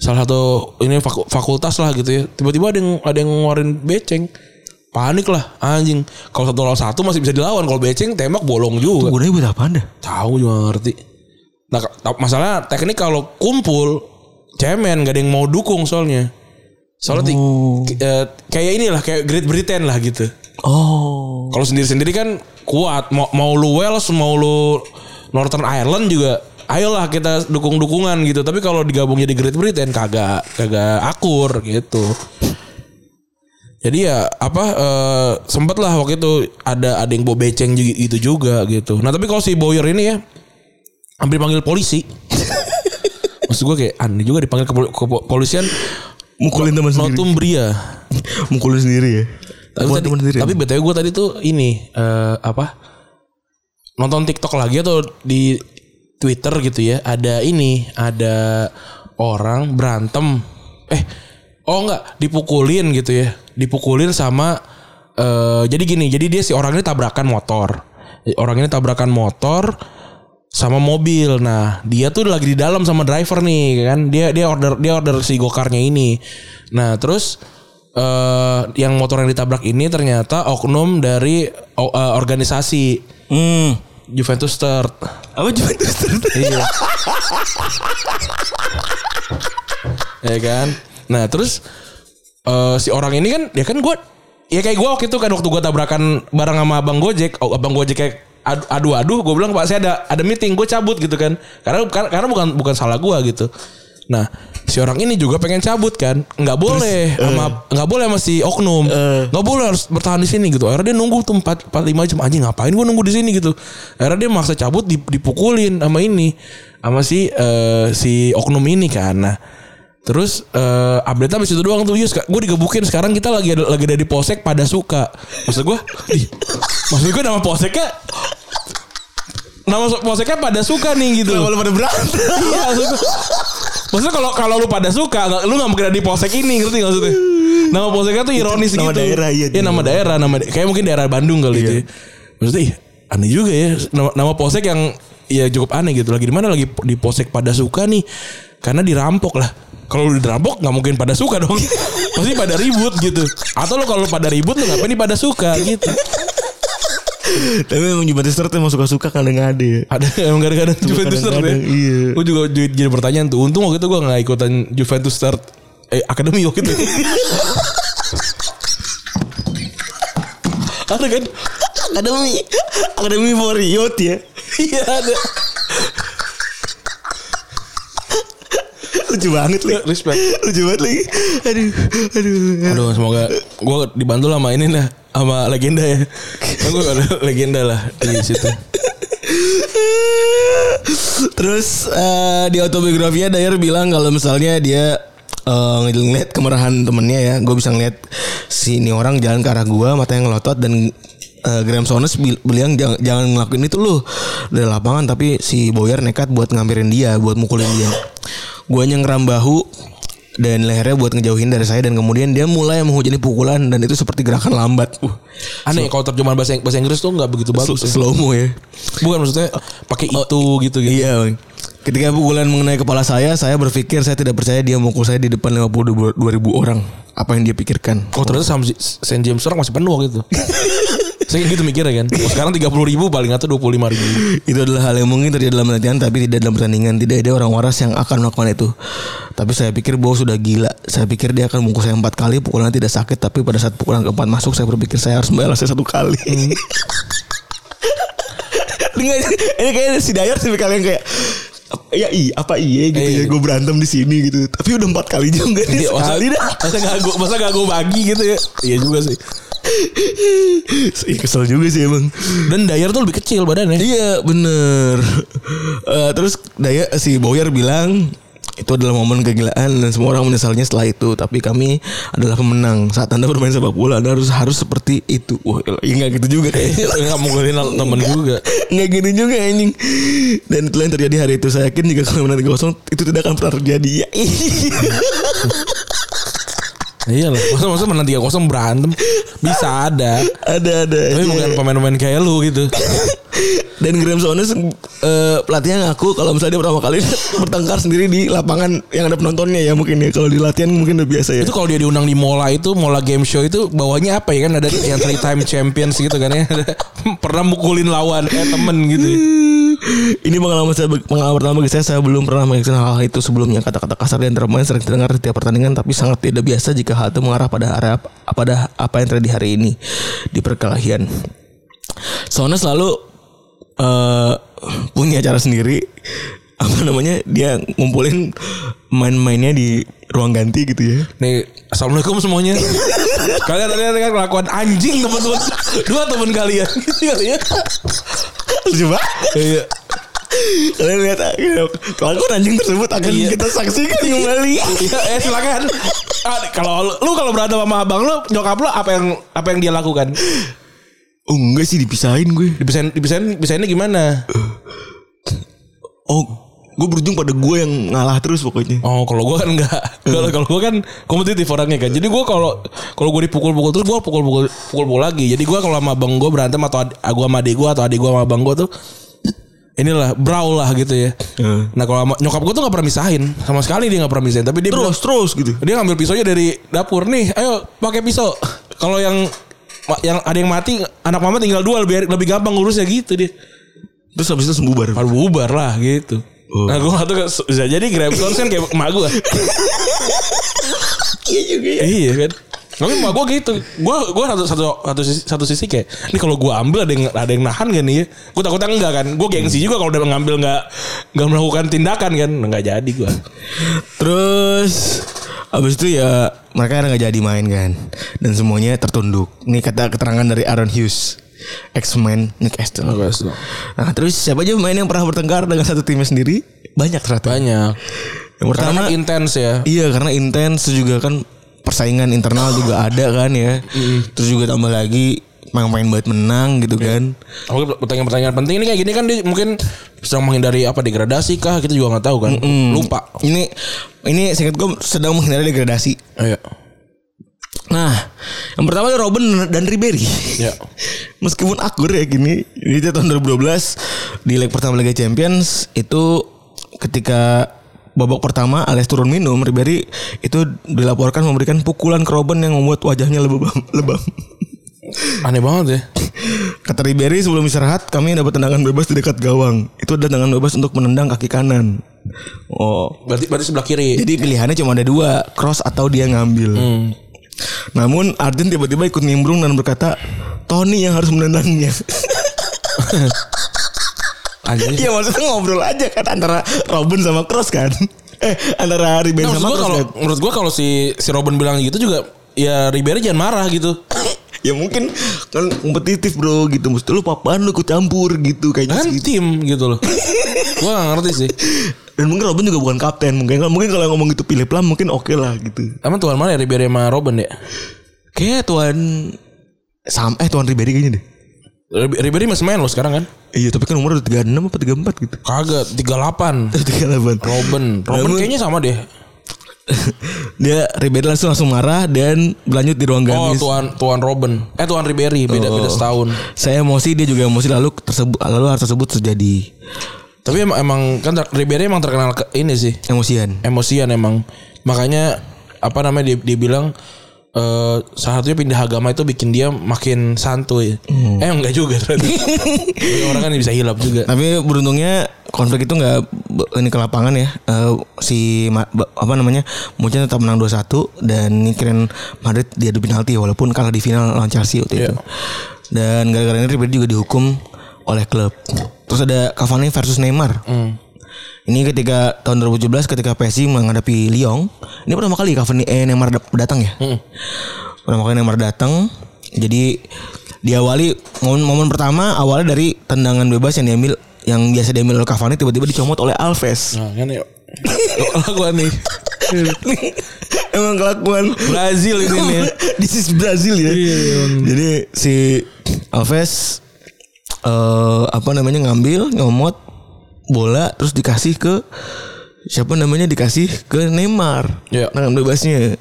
S2: salah satu ini faku- fakultas lah gitu ya tiba-tiba ada yang ada yang ngeluarin beceng panik lah anjing kalau satu lawan satu masih bisa dilawan kalau beceng tembak bolong juga
S3: Gunanya buat apaan dah?
S2: tahu juga nggak ngerti nah ta- masalah teknik kalau kumpul cemen gak ada yang mau dukung soalnya soalnya ti- ki- eh, kayak inilah kayak Great Britain lah gitu
S3: Oh.
S2: kalau sendiri-sendiri kan kuat. Mau, mau lu Wales, mau lu Northern Ireland juga. Ayolah kita dukung-dukungan gitu. Tapi kalau digabung jadi Great Britain kagak kagak akur gitu. Jadi ya apa eh, sempet lah waktu itu ada ada yang bawa beceng juga gitu juga gitu. Nah tapi kalau si Boyer ini ya hampir panggil polisi. Maksud gue kayak aneh juga dipanggil ke, pol- ke pol- polisian
S3: Mukulin teman sendiri.
S2: Notumbria.
S3: Mukulin sendiri ya.
S2: Tapi
S3: Buat
S2: tadi,
S3: teman sendiri. ya?
S2: tapi btw gue tadi tuh ini eh, apa nonton TikTok lagi atau di Twitter gitu ya ada ini ada orang berantem eh oh enggak dipukulin gitu ya dipukulin sama eh, jadi gini jadi dia si orang ini tabrakan motor orang ini tabrakan motor sama mobil. Nah, dia tuh lagi di dalam sama driver nih kan. Dia dia order dia order si gokarnya ini. Nah, terus eh yang motor yang ditabrak ini ternyata oknum dari o- eh, organisasi
S3: Hmm.
S2: Juventus Third.
S3: Apa cuma terus terus.
S2: Iya. ya kan? Nah, terus eh si orang ini kan ya kan gue ya kayak gue waktu itu kan waktu gue tabrakan bareng sama abang Gojek, oh, abang Gojek kayak "Ad- aduh aduh gue bilang Pak saya ada ada meeting, gue cabut gitu kan. Karena karena, karena bukan bukan salah gue gitu. Nah, si orang ini juga pengen cabut kan. nggak boleh sama nggak boleh sama si oknum. nggak boleh Nah, harus bertahan di sini gitu. Akhirnya dia nunggu tuh 4 4 5 jam anjing ngapain gue nunggu di sini gitu. Akhirnya dia maksa cabut dip- dipukulin sama ini sama si eh, si oknum ini kan. Nah, Terus eh update abis itu doang tuh Yus Gue digebukin sekarang kita lagi ada, lagi ada di posek pada suka Maksud gue ih, Maksud gue nama poseknya Nama so- poseknya pada suka nih gitu
S3: Kalau pada berantem.
S2: Iya maksud gua. Maksudnya kalau kalau lu pada suka nggak- Lu gak mungkin ada di posek ini ngerti nggak maksudnya Nama poseknya tuh ironis
S3: nama
S2: gitu
S3: daerah, iya,
S2: Iya nama daerah nama da- Kayak mungkin daerah Bandung kali itu ya. Maksudnya ih, aneh juga ya Nama, nama posek yang ya cukup aneh gitu Lagi di mana lagi di posek pada suka nih Karena dirampok lah kalau lu dirampok nggak mungkin pada suka dong Pasti pada ribut gitu Atau lu kalau pada ribut lu ngapain di pada suka gitu
S3: Tapi emang Juventus terus emang suka-suka kadang-kadang ya.
S2: Ada emang kadang-kadang Juventus Third ya.
S3: kadang-kadang, iya.
S2: Gue juga ju- jadi pertanyaan tuh. Untung waktu itu gue gak ikutan Juventus Third eh, Akademi waktu itu. ada kan?
S3: Akademi Akademi for youth ya.
S2: Iya ada.
S3: Lucu banget lagi.
S2: Respect.
S3: Lucu banget lagi. Aduh, aduh.
S2: Aduh semoga gue dibantu lah sama ini lah sama legenda ya. Gue ada legenda lah di situ.
S3: Terus eh, di autobiografinya Dayer bilang kalau misalnya dia eh, ngeliat kemarahan temennya ya, gue bisa ngeliat sini orang jalan ke arah gue, matanya ngelotot dan eh, Graham Souness bil- bilang jangan, jangan ngelakuin itu lu dari lapangan tapi si Boyer nekat buat ngampirin dia, buat mukulin dia. Gue ngeram bahu dan lehernya buat ngejauhin dari saya dan kemudian dia mulai menghujani pukulan dan itu seperti gerakan lambat. Uh,
S2: Aneh kalau terjemahan bahasa bahasa Inggris tuh nggak begitu bagus. ya.
S3: slow mo ya.
S2: Bukan maksudnya pakai itu gitu gitu.
S3: Iya Bang. Ketika pukulan mengenai kepala saya Saya berpikir saya tidak percaya dia mukul saya di depan 52 ribu orang Apa yang dia pikirkan
S2: Oh ternyata sama si- St. James Rock masih penuh gitu. Saya gitu mikirnya kan. Oh, sekarang 30 ribu paling atau 25 ribu.
S3: Itu adalah hal yang mungkin terjadi dalam latihan Tapi tidak dalam pertandingan Tidak ada orang waras yang akan melakukan itu Tapi saya pikir bahwa sudah gila Saya pikir dia akan mukul saya empat kali Pukulannya tidak sakit Tapi pada saat pukulan keempat masuk Saya berpikir saya harus membalasnya satu kali Ini kayak- ini kayaknya si Dayar sih kalian kayak Ya iya apa iya gitu
S2: Iya.
S3: ya Gue berantem di sini gitu Tapi udah empat kali juga nih
S2: Iya, masa-
S3: Sekali dah
S2: Masa gak gue masa gak gua bagi gitu ya. Iya juga sih.
S3: Iya kesel juga sih emang.
S2: Dan Dyer tuh lebih kecil badannya.
S3: Iya bener. Eh, terus Daya si Boyer bilang itu adalah momen kegilaan dan semua orang menyesalnya setelah itu. Tapi kami adalah pemenang. Saat anda bermain sepak bola anda harus harus seperti itu. Wah, ya nggak gitu juga kayaknya.
S2: Enggak Iya, mukulin temen juga.
S3: Nggak gitu juga anjing Dan itu yang terjadi hari itu Saya yakin jika kalian menang 3-0 Itu tidak akan pernah terjadi Ya iya.
S2: Iya lah. Masa masa menang 3-0 berantem. Bisa ada.
S3: Ada ada
S2: Tapi
S3: aja.
S2: bukan pemain-pemain kayak lu gitu.
S3: Dan Graham Souness eh, pelatihnya ngaku kalau misalnya dia pertama kali bertengkar sendiri di lapangan yang ada penontonnya ya mungkin ya. Kalau di latihan mungkin udah biasa ya.
S2: Itu kalau dia diundang di Mola itu Mola game show itu bawahnya apa ya kan ada yang three time champions gitu kan ya Ada- pernah mukulin lawan eh temen gitu ya.
S3: Ini pengalaman saya pengalaman pertama bagi saya saya belum pernah mengikuti hal itu sebelumnya kata-kata kasar dan pemain sering terdengar di tiap pertandingan tapi sangat tidak biasa jika hal itu mengarah pada area pada apa yang terjadi hari ini di perkelahian. Soalnya selalu eh, punya cara sendiri apa namanya dia ngumpulin main-mainnya di ruang ganti gitu ya.
S2: Nih, assalamualaikum semuanya. kalian kalian kan kelakuan anjing teman-teman. Dua teman kalian. Gitu kali ya.
S3: Lucu banget.
S2: Iya.
S3: Kalian lihat eh, akhirnya kelakuan anjing tersebut akan
S2: Iya.
S3: kita saksikan kembali.
S2: Iya, eh silakan. Ah, kalau lu- lu kalau berada sama abang lu, nyokap lu apa yang apa yang dia lakukan?
S3: Oh enggak sih dipisahin gue.
S2: Dipisahin dipisahin dipisahinnya gimana?
S3: Oh, gue berujung pada gue yang ngalah terus pokoknya.
S2: Oh, kalau gua kan enggak. Kalau kalau gua kan kompetitif orangnya kan. Jadi gua kalau kalau gua dipukul-pukul terus gua pukul-pukul pukul-pukul lagi. Jadi gua kalau sama abang gua berantem atau ad, gua sama adik gua atau adik gua sama abang gua tuh inilah brawl lah gitu ya.
S3: Hmm.
S2: Nah, kalau sama, nyokap gua tuh nggak pernah misahin. Sama sekali dia nggak pernah misahin, tapi dia bilang-
S3: Terus terus gitu.
S2: dia ngambil pisaunya dari dapur nih. Ayo pakai pisau. Kalau yang ma- yang ada yang mati anak mama tinggal dua lebih lebih gampang ngurusnya gitu dia.
S3: Terus habis itu sembubar.
S2: Baru bubar lah gitu.
S3: Oh.
S2: Nah gue gak tau Bisa jadi Graham Jones kan kayak emak gue
S3: Iya juga ya.
S2: Iya kan Tapi emak gue gitu Gue gua satu, satu, satu, sisi, satu sisi kayak Ini kalau gue ambil ada yang, ada yang nahan gak nih ya Gue takutnya enggak kan Gue gengsi
S3: Hmm.
S2: juga kalau udah ngambil gak Gak melakukan tindakan kan Nggak jadi gue
S3: Terus habis itu ya mereka akhirnya nggak jadi main kan. Dan semuanya tertunduk. Ini kata keterangan dari Aaron Hughes. X-Men Nick Astle. Nah terus siapa aja pemain yang pernah bertengkar dengan satu timnya sendiri? Banyak ternyata.
S2: Banyak
S3: Yang
S2: Pertama
S3: pertama
S2: intens ya
S3: Iya karena intens terus juga kan persaingan internal juga ada kan ya. Terus juga tambah lagi main-main buat menang gitu kan.
S2: Oke pertanyaan-pertanyaan penting ini kayak gini kan dia mungkin sedang menghindari apa degradasi kah kita juga nggak tahu kan lupa
S3: Ini ini singkat gue sedang menghindari degradasi.
S2: Iya.
S3: Nah, yang pertama itu Robin dan Ribery.
S2: Ya.
S3: Meskipun akur ya gini, ini dia tahun 2012 di leg pertama Liga Champions itu ketika babak pertama alias turun minum Ribery itu dilaporkan memberikan pukulan ke Robin yang membuat wajahnya lebam lebam.
S2: aneh banget ya
S3: Kata Ribery sebelum istirahat kami dapat tendangan bebas di dekat gawang. Itu adalah tendangan bebas untuk menendang kaki kanan. Oh,
S2: berarti berarti sebelah kiri
S3: jadi pilihannya cuma ada dua, cross atau dia ngambil.
S2: Hmm.
S3: Namun Arden tiba-tiba ikut nimbrung dan berkata, Tony yang harus menendangnya.
S2: anjing
S3: Iya maksudnya ngobrol aja kan antara Robin sama Cross kan. Eh antara Ribery
S2: Nah, maksud
S3: sama
S2: gua
S3: Cross
S2: kalau
S3: kan.
S2: menurut gua kalau si si Robin bilang gitu juga ya Ribery jangan marah gitu.
S3: Ya mungkin kan kompetitif bro gitu. Mesti lu papaan lu ikut campur gitu kayaknya
S2: Kan
S3: segitu.
S2: tim gitu loh. gua gak ngerti sih.
S3: Dan mungkin Robin juga bukan kapten mungkin mungkin kalau ngomong gitu pilih pelan mungkin oke lah gitu.
S2: Emang tuan mana ya Ribery sama Robin ya?
S3: Kayaknya tuan Sam eh tuan Ribery kayaknya deh.
S2: Rib- Ribery masih main loh sekarang kan?
S3: Iya tapi kan umur udah 36 apa 34 gitu.
S2: Kagak 38.
S3: Tiga delapan.
S2: Robin, Robin
S3: Namun-
S2: kayaknya sama deh.
S3: dia Ribery langsung langsung marah dan berlanjut di ruang
S2: Oh,
S3: ganti.
S2: tuan tuan Robin. Eh tuan Ribery beda-beda
S3: Oh.
S2: setahun.
S3: Saya emosi dia juga emosi lalu tersebut lalu hal tersebut terjadi
S2: Tapi emang, emang kan ter- Ribery emang terkenal ke ini sih.
S3: emosian.
S2: Emosian emang. Makanya apa namanya dia, dia bilang eh salah satunya pindah agama itu bikin dia makin santuy. Eh enggak juga ternyata. Tapi orang kan bisa hilap juga.
S3: Tapi beruntungnya konflik itu nggak be- ini ke lapangan ya. Eh, si Ma- ba- apa namanya? Munchen tetap menang 2-1 dan keren Madrid diadu penalti walaupun kalah di final lawan Chelsea waktu itu. Dan gara-gara ini Ribery juga dihukum oleh klub. Terus ada Cavani versus Neymar. Ini ketika tahun 2017 ketika PSG menghadapi Lyon, ini pertama kali Cavani eh Neymar dat- datang ya. Pertama kali Neymar datang. Jadi diawali momen, momen pertama awalnya dari tendangan bebas yang diambil yang biasa diambil oleh Cavani tiba-tiba dicomot oleh Alves.
S2: Nah, kan ya. Kelakuan nih.
S3: Emang kelakuan
S2: Brazil ini nih. Iya,
S3: This is Brazil ya. Jadi si Alves eh apa namanya ngambil nyomot bola terus dikasih ke siapa namanya dikasih ke Neymar.
S2: Iya.
S3: Nah, bebasnya.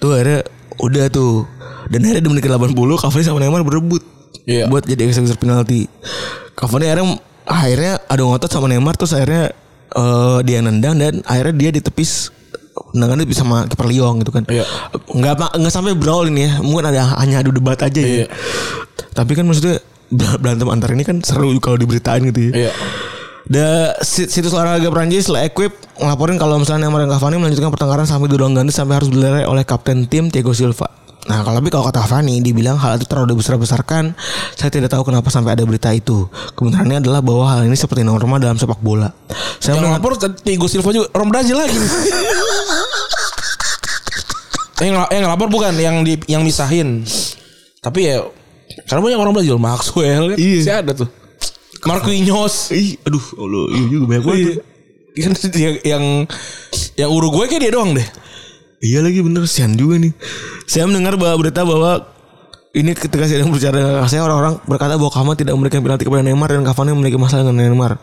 S3: Tuh akhirnya udah tuh. Dan akhirnya di menit ke-80 Cavani sama Neymar berebut.
S2: Iya.
S3: Buat jadi eksekutor penalti. Cavani akhirnya akhirnya ada ngotot sama Neymar terus akhirnya eh, dia nendang dan akhirnya dia ditepis nendangan ditepis sama kiper Lyon gitu kan.
S2: Iya.
S3: Nggak apa nggak sampai brawl ini ya. Mungkin ada hanya adu debat aja
S2: Iya.
S3: ya. Tapi kan maksudnya bel- berantem antar ini kan seru kalau diberitain gitu ya.
S2: Iya.
S3: The sit- situs olahraga Prancis La Equipe ngelaporin kalau misalnya Neymar dan Cavani melanjutkan pertengkaran sampai duduk ganti sampai harus dilerai oleh kapten tim Thiago Silva. Nah, kalau tapi kalau kata Cavani dibilang hal itu terlalu dibesar-besarkan. Saya tidak tahu kenapa sampai ada berita itu. Kebenarannya adalah bahwa hal ini seperti norma dalam sepak bola. Saya
S2: Yang
S3: mengapa
S2: lapor tadi Thiago Silva juga orang Brazil lagi. Eh, yang, yang lapor bukan yang di yang misahin. Tapi ya karena banyak orang Brazil Maxwell kan
S3: Iya.
S2: masih ada tuh. Marquinhos.
S3: Ih, aduh, Allah, iya juga banyak banget.
S2: Iya. Kan yang- yang yang Uruguay kayak dia doang deh.
S3: Iya lagi bener sian juga nih. Saya mendengar bahwa berita bahwa ini ketika saya berbicara dengan saya orang-orang berkata bahwa Kama tidak memberikan penalti kepada Neymar dan Cavani memiliki masalah dengan Neymar.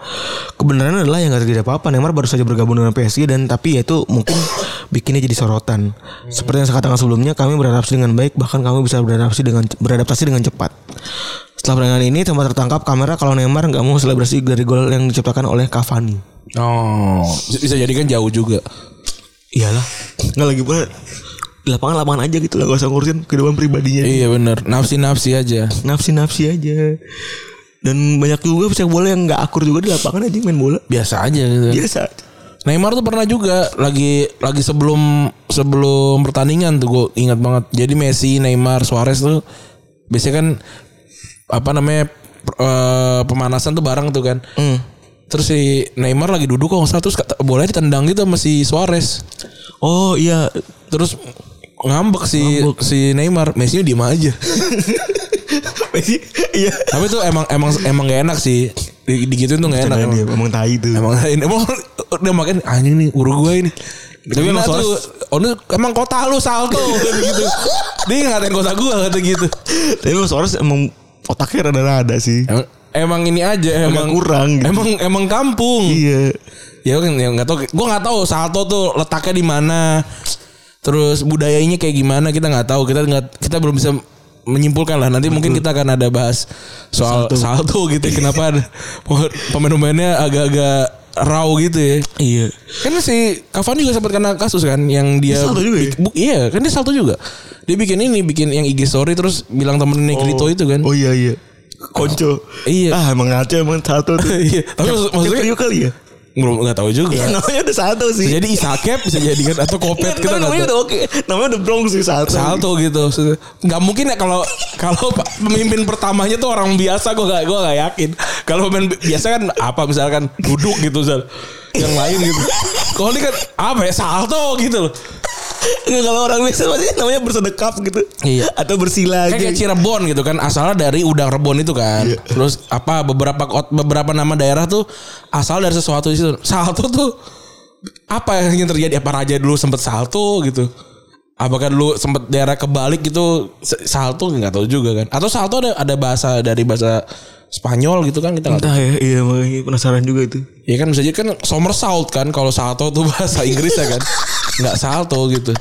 S3: Kebenarannya adalah yang nggak terjadi apa-apa. Neymar baru saja bergabung dengan PSG dan tapi ya itu mungkin bikinnya jadi sorotan. Seperti yang saya katakan sebelumnya, kami beradaptasi dengan baik bahkan kami bisa beradaptasi dengan beradaptasi dengan cepat. Setelah pertandingan ini tempat tertangkap kamera kalau Neymar nggak mau selebrasi dari gol yang diciptakan oleh Cavani.
S2: Oh, bisa jadi kan jauh juga.
S3: Iyalah, nggak lagi pula di lapangan lapangan aja gitu lah, gak usah ngurusin kehidupan pribadinya.
S2: Iya bener Nafsi-nafsi aja.
S3: Nafsi nafsi aja. Dan banyak juga pesepak bola yang nggak akur juga di lapangan aja main bola.
S2: Biasa aja gitu.
S3: Biasa.
S2: Neymar tuh pernah juga lagi lagi sebelum sebelum pertandingan tuh gue ingat banget. Jadi Messi, Neymar, Suarez tuh biasanya kan apa namanya per- eh, pemanasan tuh bareng tuh kan.
S3: Hmm.
S2: Terus si Neymar lagi duduk kok nggak salah terus kata- bolanya ditendang gitu sama si Suarez.
S3: Oh iya,
S2: Terus ngambek si si Neymar, Messi diem aja.
S3: Messi. Iya.
S2: Tapi tuh emang emang emang gak enak sih. Di, digituin tuh gak enak.
S3: Nah,
S2: Emang.
S3: dia emang tai tuh.
S2: Emang emang udah makin anjing nih Uruguay nih. Tapi
S3: emang
S2: emang
S3: Suarez-
S2: tuh, oh, ini emang kota lu salto gitu. Dia ngatain kota gua kata gitu.
S3: Tapi emang Suarez emang otaknya rada-rada sih.
S2: Emang, emang ini aja emang
S3: kurang gitu.
S2: Emang emang kampung.
S3: Iya.
S2: Ya kan ya nggak tahu gua nggak tahu Salto tuh letaknya di mana. Terus budayanya kayak gimana kita nggak tahu. Kita nggak kita belum bisa menyimpulkan lah nanti mungkin kita akan ada bahas soal salto, gitu kenapa ada- pemain-pemainnya agak-agak raw gitu ya
S3: Iya.
S2: Kan si Cavani juga sempat kena kasus kan yang dia
S3: Dia salto juga ya?
S2: bik- bu- iya, kan dia salto juga. Dia bikin ini, bikin yang IG story terus bilang temen Negrito itu kan.
S3: Oh iya iya. Konco.
S2: Iya.
S3: Ah emang ngaco emang satu tuh.
S2: Iya, tapi maksud- maksudnya
S3: Trio kali ya.
S2: belum nggak tahu juga.
S3: Namanya udah satu
S2: Bisa
S3: sih.
S2: jadi Isakep bisa jadi kan atau Kopet
S3: Iya. Tapi
S2: kita nggak tahu.
S3: namanya udah oke. Namanya udah brong sih satu.
S2: Salto gitu. Maksudnya, Nggak mungkin ya kalau kalau pa- pemimpin pertamanya tuh orang biasa gua nggak gua nggak yakin. Kalau pemain bi- biasa kan apa misalkan duduk gitu misal yang lain gitu. Kalau ini kan apa ya salto gitu loh.
S3: Nggak, kalau orang biasa pasti namanya bersedekap gitu.
S2: Iya.
S3: Atau bersila
S2: Kayak, kayak
S3: gitu.
S2: Cirebon gitu kan asalnya dari udang rebon itu kan. Terus apa beberapa kot- beberapa nama daerah tuh asal dari sesuatu di situ. Salto tuh apa yang terjadi apa raja dulu sempet salto gitu. Apakah dulu sempet daerah kebalik gitu se- salto nggak tahu juga kan. Atau salto ada ada bahasa dari bahasa Spanyol gitu kan kita nggak tahu.
S3: Entah ya, iya makanya penasaran juga itu.
S2: Ya kan bisa jadi kan somersault kan kalau salto tuh bahasa Inggris ya kan. Nggak salto gitu.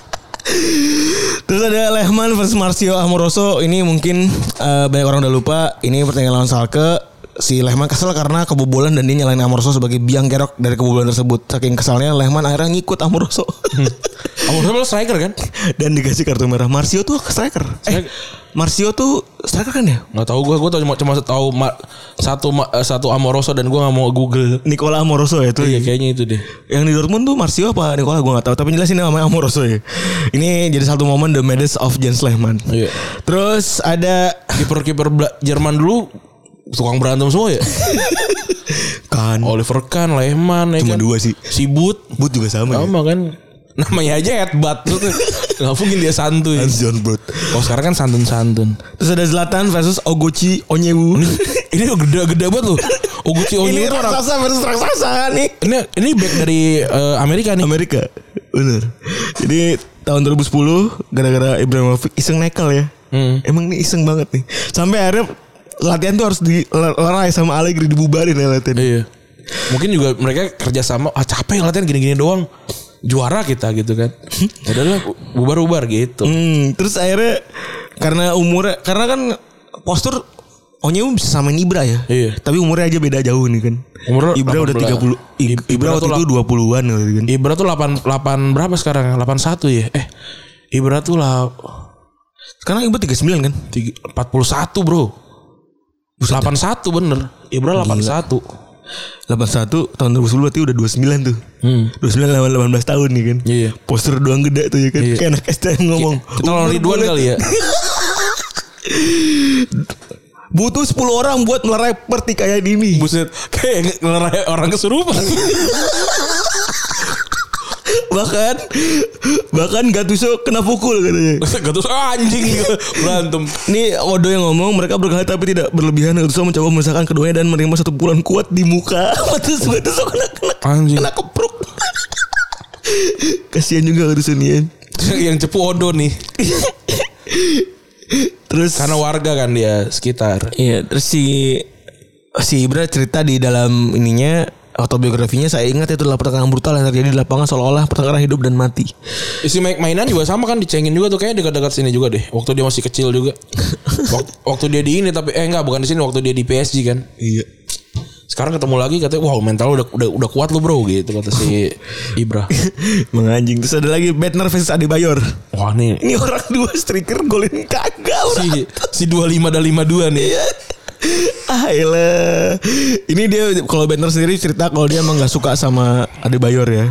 S3: Terus ada Lehman versus Marcio Amoroso. Ini mungkin eh, banyak orang udah lupa. Ini pertandingan lawan Salke. Si Lehman kesel karena kebobolan dan dia nyalain Amoroso sebagai biang kerok dari kebobolan tersebut. Saking kesalnya Lehman akhirnya ngikut Amoroso.
S2: Amor striker kan?
S3: dan dikasih kartu merah. Marcio tuh striker. Eh, Marcio tuh striker kan ya?
S2: Nggak tahu gue, gue cuma cuma tahu ma- satu ma- eh, satu Amoroso dan gue nggak mau Google.
S3: Nicola Amoroso ya itu.
S2: Iya kayaknya itu deh.
S3: Yang di Dortmund tuh Marcio apa Nicola gue gak tahu tapi jelas ini namanya Amoroso ya. Ini jadi satu momen the madness of Jens Lehmann.
S2: Iya.
S3: Terus ada
S2: Kiper kiper Jerman dulu tukang berantem semua ya.
S3: kan
S2: Oliver Kahn, Lehmann, ya
S3: Cuma dua sih.
S2: Sibut,
S3: Bud juga sama ya.
S2: sama kan. Namanya aja headbutt tuh. Gak mungkin dia santuy.
S3: Hans John Brut.
S2: Oh sekarang kan santun-santun.
S3: Terus ada Zlatan versus Ogochi Onyewu.
S2: Ini gede-gede banget loh. Oh, Oguchi Onyu
S3: ini
S2: itu orang.
S3: raksasa versus raksasa nih.
S2: Ini ini back dari eh, Amerika nih.
S3: Amerika. Bener. Jadi tahun 2010 gara-gara Ibrahimovic iseng nekel ya. Emang nih iseng banget nih. Sampai akhirnya latihan tuh harus dilerai sama Allegri dibubarin ya latihan.
S2: Iya. Mungkin juga mereka kerja sama ah capek latihan gini-gini doang. Juara kita gitu kan. Adalah bubar-bubar gitu.
S3: Hmm, terus akhirnya karena umurnya karena kan postur Onyewu bisa samain Ibra ya.
S2: Iya.
S3: Tapi umurnya aja beda jauh nih kan.
S2: Umur
S3: Ibra udah
S2: 18.
S3: 30 Ib- Ibra
S2: Ibra
S3: waktu
S2: tuh
S3: itu 20-an gitu kan.
S2: Ibra tuh 8 8 berapa sekarang? 81 ya? Eh, Ibra tuh lah
S3: Sekarang Ibra 39 kan?
S2: tiga- 41, Bro. 81 bener. Ibra 81.
S3: 81 tahun 2010 berarti udah 29 tuh.
S2: Hmm.
S3: 29 lawan 18 tahun nih kan.
S2: Iya.
S3: Poster doang gede tuh ya kan. Kayak anak SD yang ngomong.
S2: Kita lawan
S3: "Umur
S2: Ridwan
S3: boleh-
S2: kali ya.
S3: Butuh 10 orang buat melerai pertikaian ini.
S2: Buset, kayak ngelerai orang kesurupan.
S3: bahkan bahkan Gattuso kena pukul katanya.
S2: Gak tuh anjing gitu. berantem.
S3: Ini Odo yang ngomong mereka berkelahi tapi tidak berlebihan Gattuso mencoba memisahkan keduanya dan menerima satu pukulan kuat di muka. Terus Gattuso kena kena
S2: Anjing.
S3: kena kepruk. Kasihan juga Gattuso nih. ya.
S2: yang cepu Odo nih.
S3: Terus
S2: Karena warga kan dia sekitar.
S3: Iya, terus si si Ibra cerita di dalam ininya autobiografinya saya ingat itu adalah pertengkaran brutal yang terjadi di lapangan seolah-olah pertengkaran hidup dan mati.
S2: Isi main- mainan juga sama kan dicengin juga tuh kayaknya dekat-dekat sini juga deh. Waktu dia masih kecil juga. Wak- waktu dia di ini tapi eh enggak bukan di sini waktu dia di PSG kan.
S3: Iya.
S2: Sekarang ketemu lagi katanya wow mental lu udah udah, udah kuat lu bro gitu kata si Ibra.
S3: Menganjing. Terus ada lagi Bednar versus Adebayor.
S2: Wah nih
S3: Ini orang dua striker golin kagak orang.
S2: si si 25 dan 52 nih.
S3: Iya. ah elah. Ini dia kalau Banner sendiri cerita kalau dia emang nggak suka sama Adebayor ya.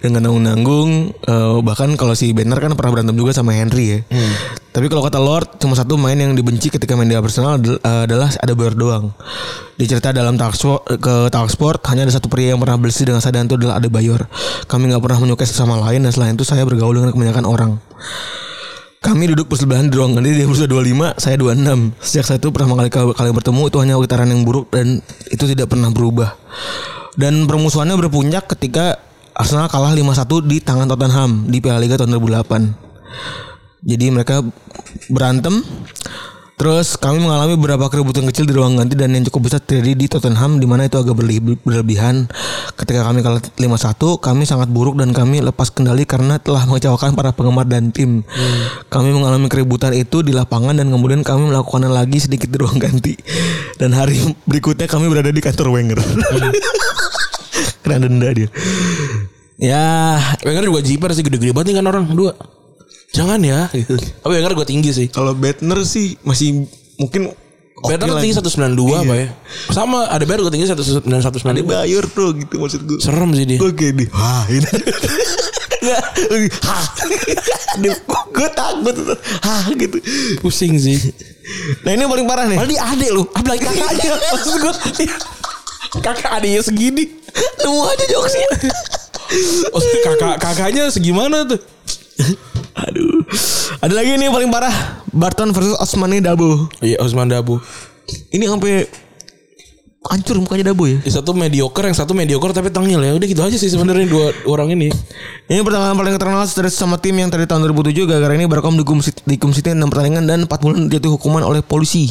S3: Dengan nanggung-nanggung eh, bahkan kalau si Banner kan pernah berantem juga sama Henry ya. Tapi kalau kata Lord cuma satu main yang dibenci ketika main di Arsenal adal- eh, adalah Adebayor doang. Dicerita dalam Talksport ke Talksport hanya ada satu pria yang pernah bersih dengan saya dan itu adalah Adebayor. Kami nggak pernah menyukai satu sama lain dan selain itu saya bergaul dengan kebanyakan orang. Kami duduk bersebelahan di ruang ganti dia berusia 25, saya 26. Sejak saat itu pertama kali kalian bertemu itu hanya getaran yang buruk dan itu tidak pernah berubah. Dan permusuhannya berpuncak ketika Arsenal kalah 5-1 di tangan Tottenham di Piala Liga tahun 2008. Jadi mereka berantem Terus kami mengalami beberapa keributan kecil di ruang ganti dan yang cukup besar terjadi di Tottenham di mana itu agak berlebi- berlebihan. Ketika kami kalah 5-1, kami sangat buruk dan kami lepas kendali karena telah mengecewakan para penggemar dan tim. Kami mengalami keributan itu di lapangan dan kemudian kami melakukannya lagi sedikit di ruang ganti. Dan hari berikutnya kami berada di kantor Wenger. Kena denda dia. Ya,
S2: Wenger juga jiper sih gede-gede banget nih kan orang dua. Jangan ya. Gitu. Tapi Wenger gue tinggi sih.
S3: kalau Bettner sih masih mungkin
S2: Better tinggi 192 apa ya? Sama ada Better gue tinggi 192.
S3: bayar bro gitu maksud gue.
S2: Serem sih dia.
S3: Oke di Hah ini Nggak, lagi, Hah Gue takut Hah gitu
S2: Pusing sih.
S3: Nah ini yang paling parah nih
S2: Padahal dia adek lu. Apa lagi kakaknya? Eh. Iya, Maksud gue. dia- Kakak adeknya segini.
S3: Nemu aja ya. jokesnya
S2: Maksudnya kakak kakaknya segimana tuh?
S3: Aduh Ada lagi nih yang paling parah Barton versus Osmani Dabo
S2: Iya Osman Dabu.
S3: Ini sampai Hancur mukanya Dabo ya
S2: Yang satu mediocre, yang satu mediocre tapi tengil ya. Udah gitu aja sih sebenarnya dua orang ini.
S3: Ini pertandingan paling terkenal dari sama tim yang dari tahun 2007 Gara-gara ini Barkom dihukum sit- dihukum situ 6 pertandingan Dan 4 bulan jatuh hukuman oleh polisi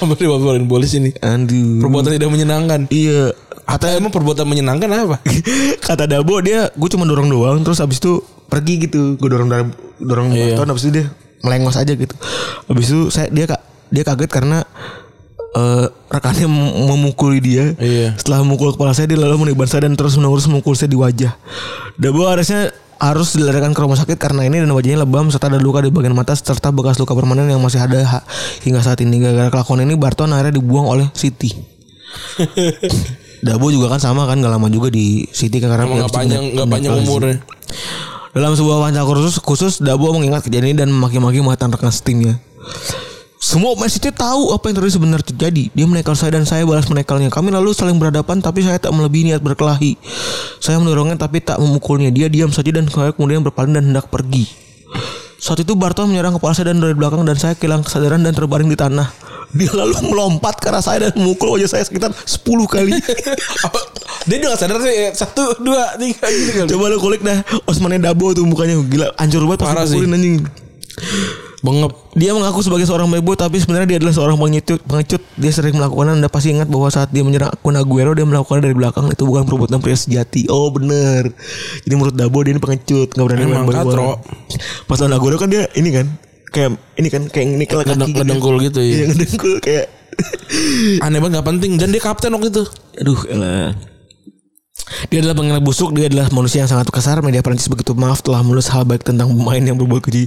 S2: Sampai dibawa polis ini.
S3: Aduh
S2: Perbuatan tidak menyenangkan.
S3: Iya
S2: Atau emang perbuatan menyenangkan apa?
S3: kata Dabo dia gue cuma dorong doang terus abis itu pergi gitu gue dorong dorong dorong
S2: Iya.
S3: Barton abis itu dia melengos aja gitu abis itu saya dia ka- dia kaget karena eh, rekannya mem- memukuli dia
S2: Iya.
S3: setelah memukul kepala saya dia lalu meniban saya dan terus menerus memukul saya di wajah Dabo harusnya harus dilarikan ke rumah sakit karena ini dan wajahnya lebam serta ada luka di bagian mata serta bekas luka permanen yang masih ada ha- hingga saat ini gara-gara kelakuan ini Barton akhirnya dibuang oleh City Dabo juga kan sama kan gak lama juga di City kan, karena
S2: Emang nggak
S3: Manchester
S2: panjang
S3: United-
S2: nggak panjang umurnya.
S3: Dalam sebuah wawancara khusus, khusus Dabo mengingat kejadian ini dan memaki-maki mantan rekan setimnya. Semua pemain City tahu apa yang terjadi sebenarnya terjadi. Dia menekal saya dan saya balas menekalnya. Kami lalu saling berhadapan tapi saya tak melebihi niat berkelahi. Saya mendorongnya tapi tak memukulnya. Dia diam saja dan saya kemudian berpaling dan hendak pergi. Saat itu Barton menyerang kepala saya dan dari belakang dan saya kehilangan kesadaran dan terbaring di tanah. Dia lalu melompat ke arah saya dan memukul wajah saya sekitar 10 kali.
S2: Apa? Dia udah nggak sadar sih eh, satu dua tiga gitu kan.
S3: Coba lu kulik dah Osmannya Dabo tuh mukanya gila hancur banget
S2: Parah
S3: pas dipukulin anjing.
S2: Bengep.
S3: Dia mengaku sebagai seorang playboy tapi sebenarnya dia adalah seorang pengecut, pengecut. Dia sering melakukan Anda pasti ingat bahwa saat dia menyerang akun Aguero dia melakukan dari belakang itu bukan perbuatan pria sejati. Oh bener. Jadi menurut Dabo dia ini pengecut nggak berani
S2: Emang
S3: main
S2: katro.
S3: bola. Pas lawan Aguero kan dia ini kan kayak ini kan kayak ini kaki
S2: Ngedeng- ngedengkul gitu, iya.
S3: Iya ngedengkul kayak
S2: Aneh banget gak penting dan dia kapten waktu itu.
S3: Aduh, elah. Dia adalah pengenal busuk, dia adalah manusia yang sangat kasar. Media Prancis begitu maaf telah menulis hal baik tentang pemain yang berbuat keji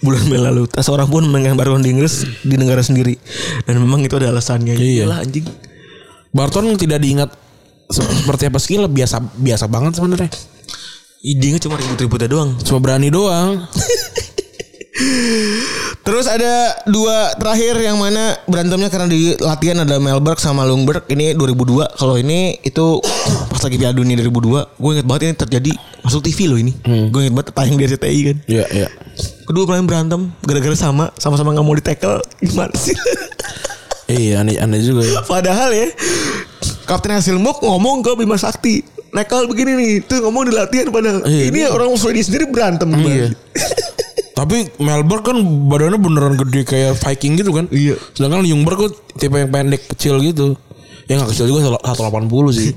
S3: bulan Mei lalu. Tak seorang pun mengenang baruan di Inggris di negara sendiri. Dan memang itu ada alasannya.
S2: Iya.
S3: Yalah, anjing.
S2: Barton tidak diingat se- seperti apa skill biasa biasa banget sebenarnya.
S3: Idenya cuma ribut-ributnya doang.
S2: Cuma berani doang.
S3: Terus ada dua terakhir yang mana berantemnya karena di latihan ada Melberg sama Lundberg. Ini 2002. Kalau ini itu pas lagi Piala Dunia 2002. Gue inget banget ini terjadi masuk TV loh ini. Gue inget banget tayang di RCTI kan.
S2: Iya, iya.
S3: Kedua pemain berantem gara-gara sama sama-sama nggak mau di tackle gimana sih?
S2: Iya, aneh aneh juga ya.
S3: Padahal ya Kapten Hasilmuk ngomong ke Bima Sakti Nekal begini nih Itu ngomong di latihan padahal
S2: Iya.
S3: Ini orang Sweden sendiri berantem
S2: Iya.
S3: gimana?
S2: Tapi Melbourne kan badannya beneran gede kayak Viking gitu kan.
S3: Iya.
S2: Sedangkan Ljungberg tuh tipe yang pendek kecil gitu. Ya gak kecil juga 180 sih.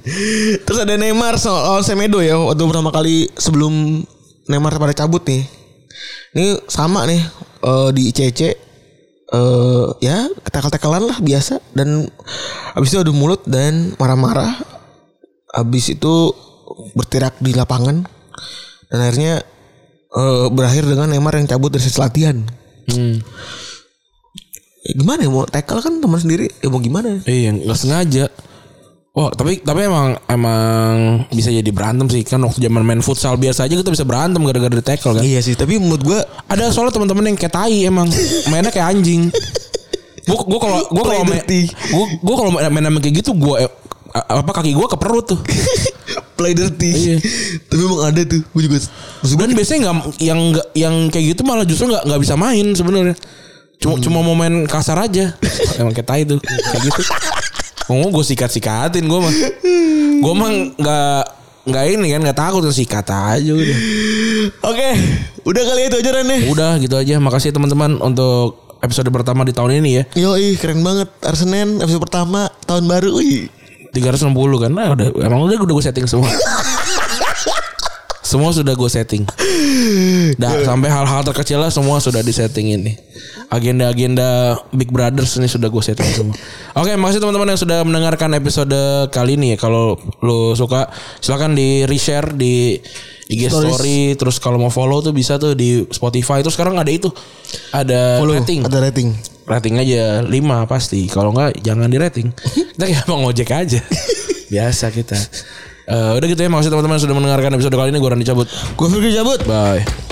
S3: Terus ada Neymar soal Semedo ya waktu pertama kali sebelum Neymar pada cabut nih. Ini sama nih eh, di ICC eh ya tekel-tekelan lah biasa dan habis itu adu mulut dan marah-marah. Habis itu bertirak di lapangan dan akhirnya eh, berakhir dengan Neymar yang cabut dari sesi latihan.
S2: Hmm.
S3: Ya, gimana ya mau tackle kan teman sendiri ya mau gimana?
S2: Iya, nggak sengaja. Wah, tapi tapi emang emang bisa jadi berantem sih kan waktu zaman main futsal biasa aja kita bisa berantem gara-gara di tackle kan.
S3: Iya sih, tapi menurut gua
S2: Ada soalnya teman-teman yang kayak tai emang mainnya kayak anjing. Gua gua kalau gua kalau main
S3: Play dirty.
S2: gua, gua kalau main, main sama kayak gitu gua eh, apa kaki gua ke perut tuh.
S3: play dirty.
S2: Iya.
S3: tapi emang ada tuh, gue juga. Maksud gua
S2: Dan biasanya nggak yang nggak- yang kayak gitu malah justru nggak nggak bisa main sebenarnya. Cuma cuma mau main kasar aja. Emang kayak tai tuh kayak gitu. Ngomong gue sikat-sikatin gue mah. Gue mah nggak nggak ini kan nggak takut sikat aja udah.
S3: Oke, udah kali itu aja Ren ya.
S2: Udah gitu aja. Makasih teman-teman untuk episode pertama di tahun ini ya.
S3: Yoi, keren banget. Arsenen episode pertama tahun baru. Wih.
S2: 360 kan. Nah, udah emang udah udah gue setting semua. semua sudah gue setting. Dah sampai hal-hal terkecil lah semua sudah disetting ini. Agenda-agenda Big Brothers ini sudah gue setting semua. Oke, makasih teman-teman yang sudah mendengarkan episode kali ini. ya. Kalau lo suka silakan di reshare di IG story, terus kalau mau follow tuh bisa tuh di Spotify. Terus sekarang ada itu ada
S3: Follow,
S2: rating
S3: Ada rating.
S2: rating aja 5 pasti. Kalau enggak jangan di rating. Kita kayak abang ojek aja. Biasa kita. Eh, udah gitu ya maksud teman-teman sudah mendengarkan episode kali ini gue Randy cabut.
S3: Gue Fikri cabut.
S2: Bye.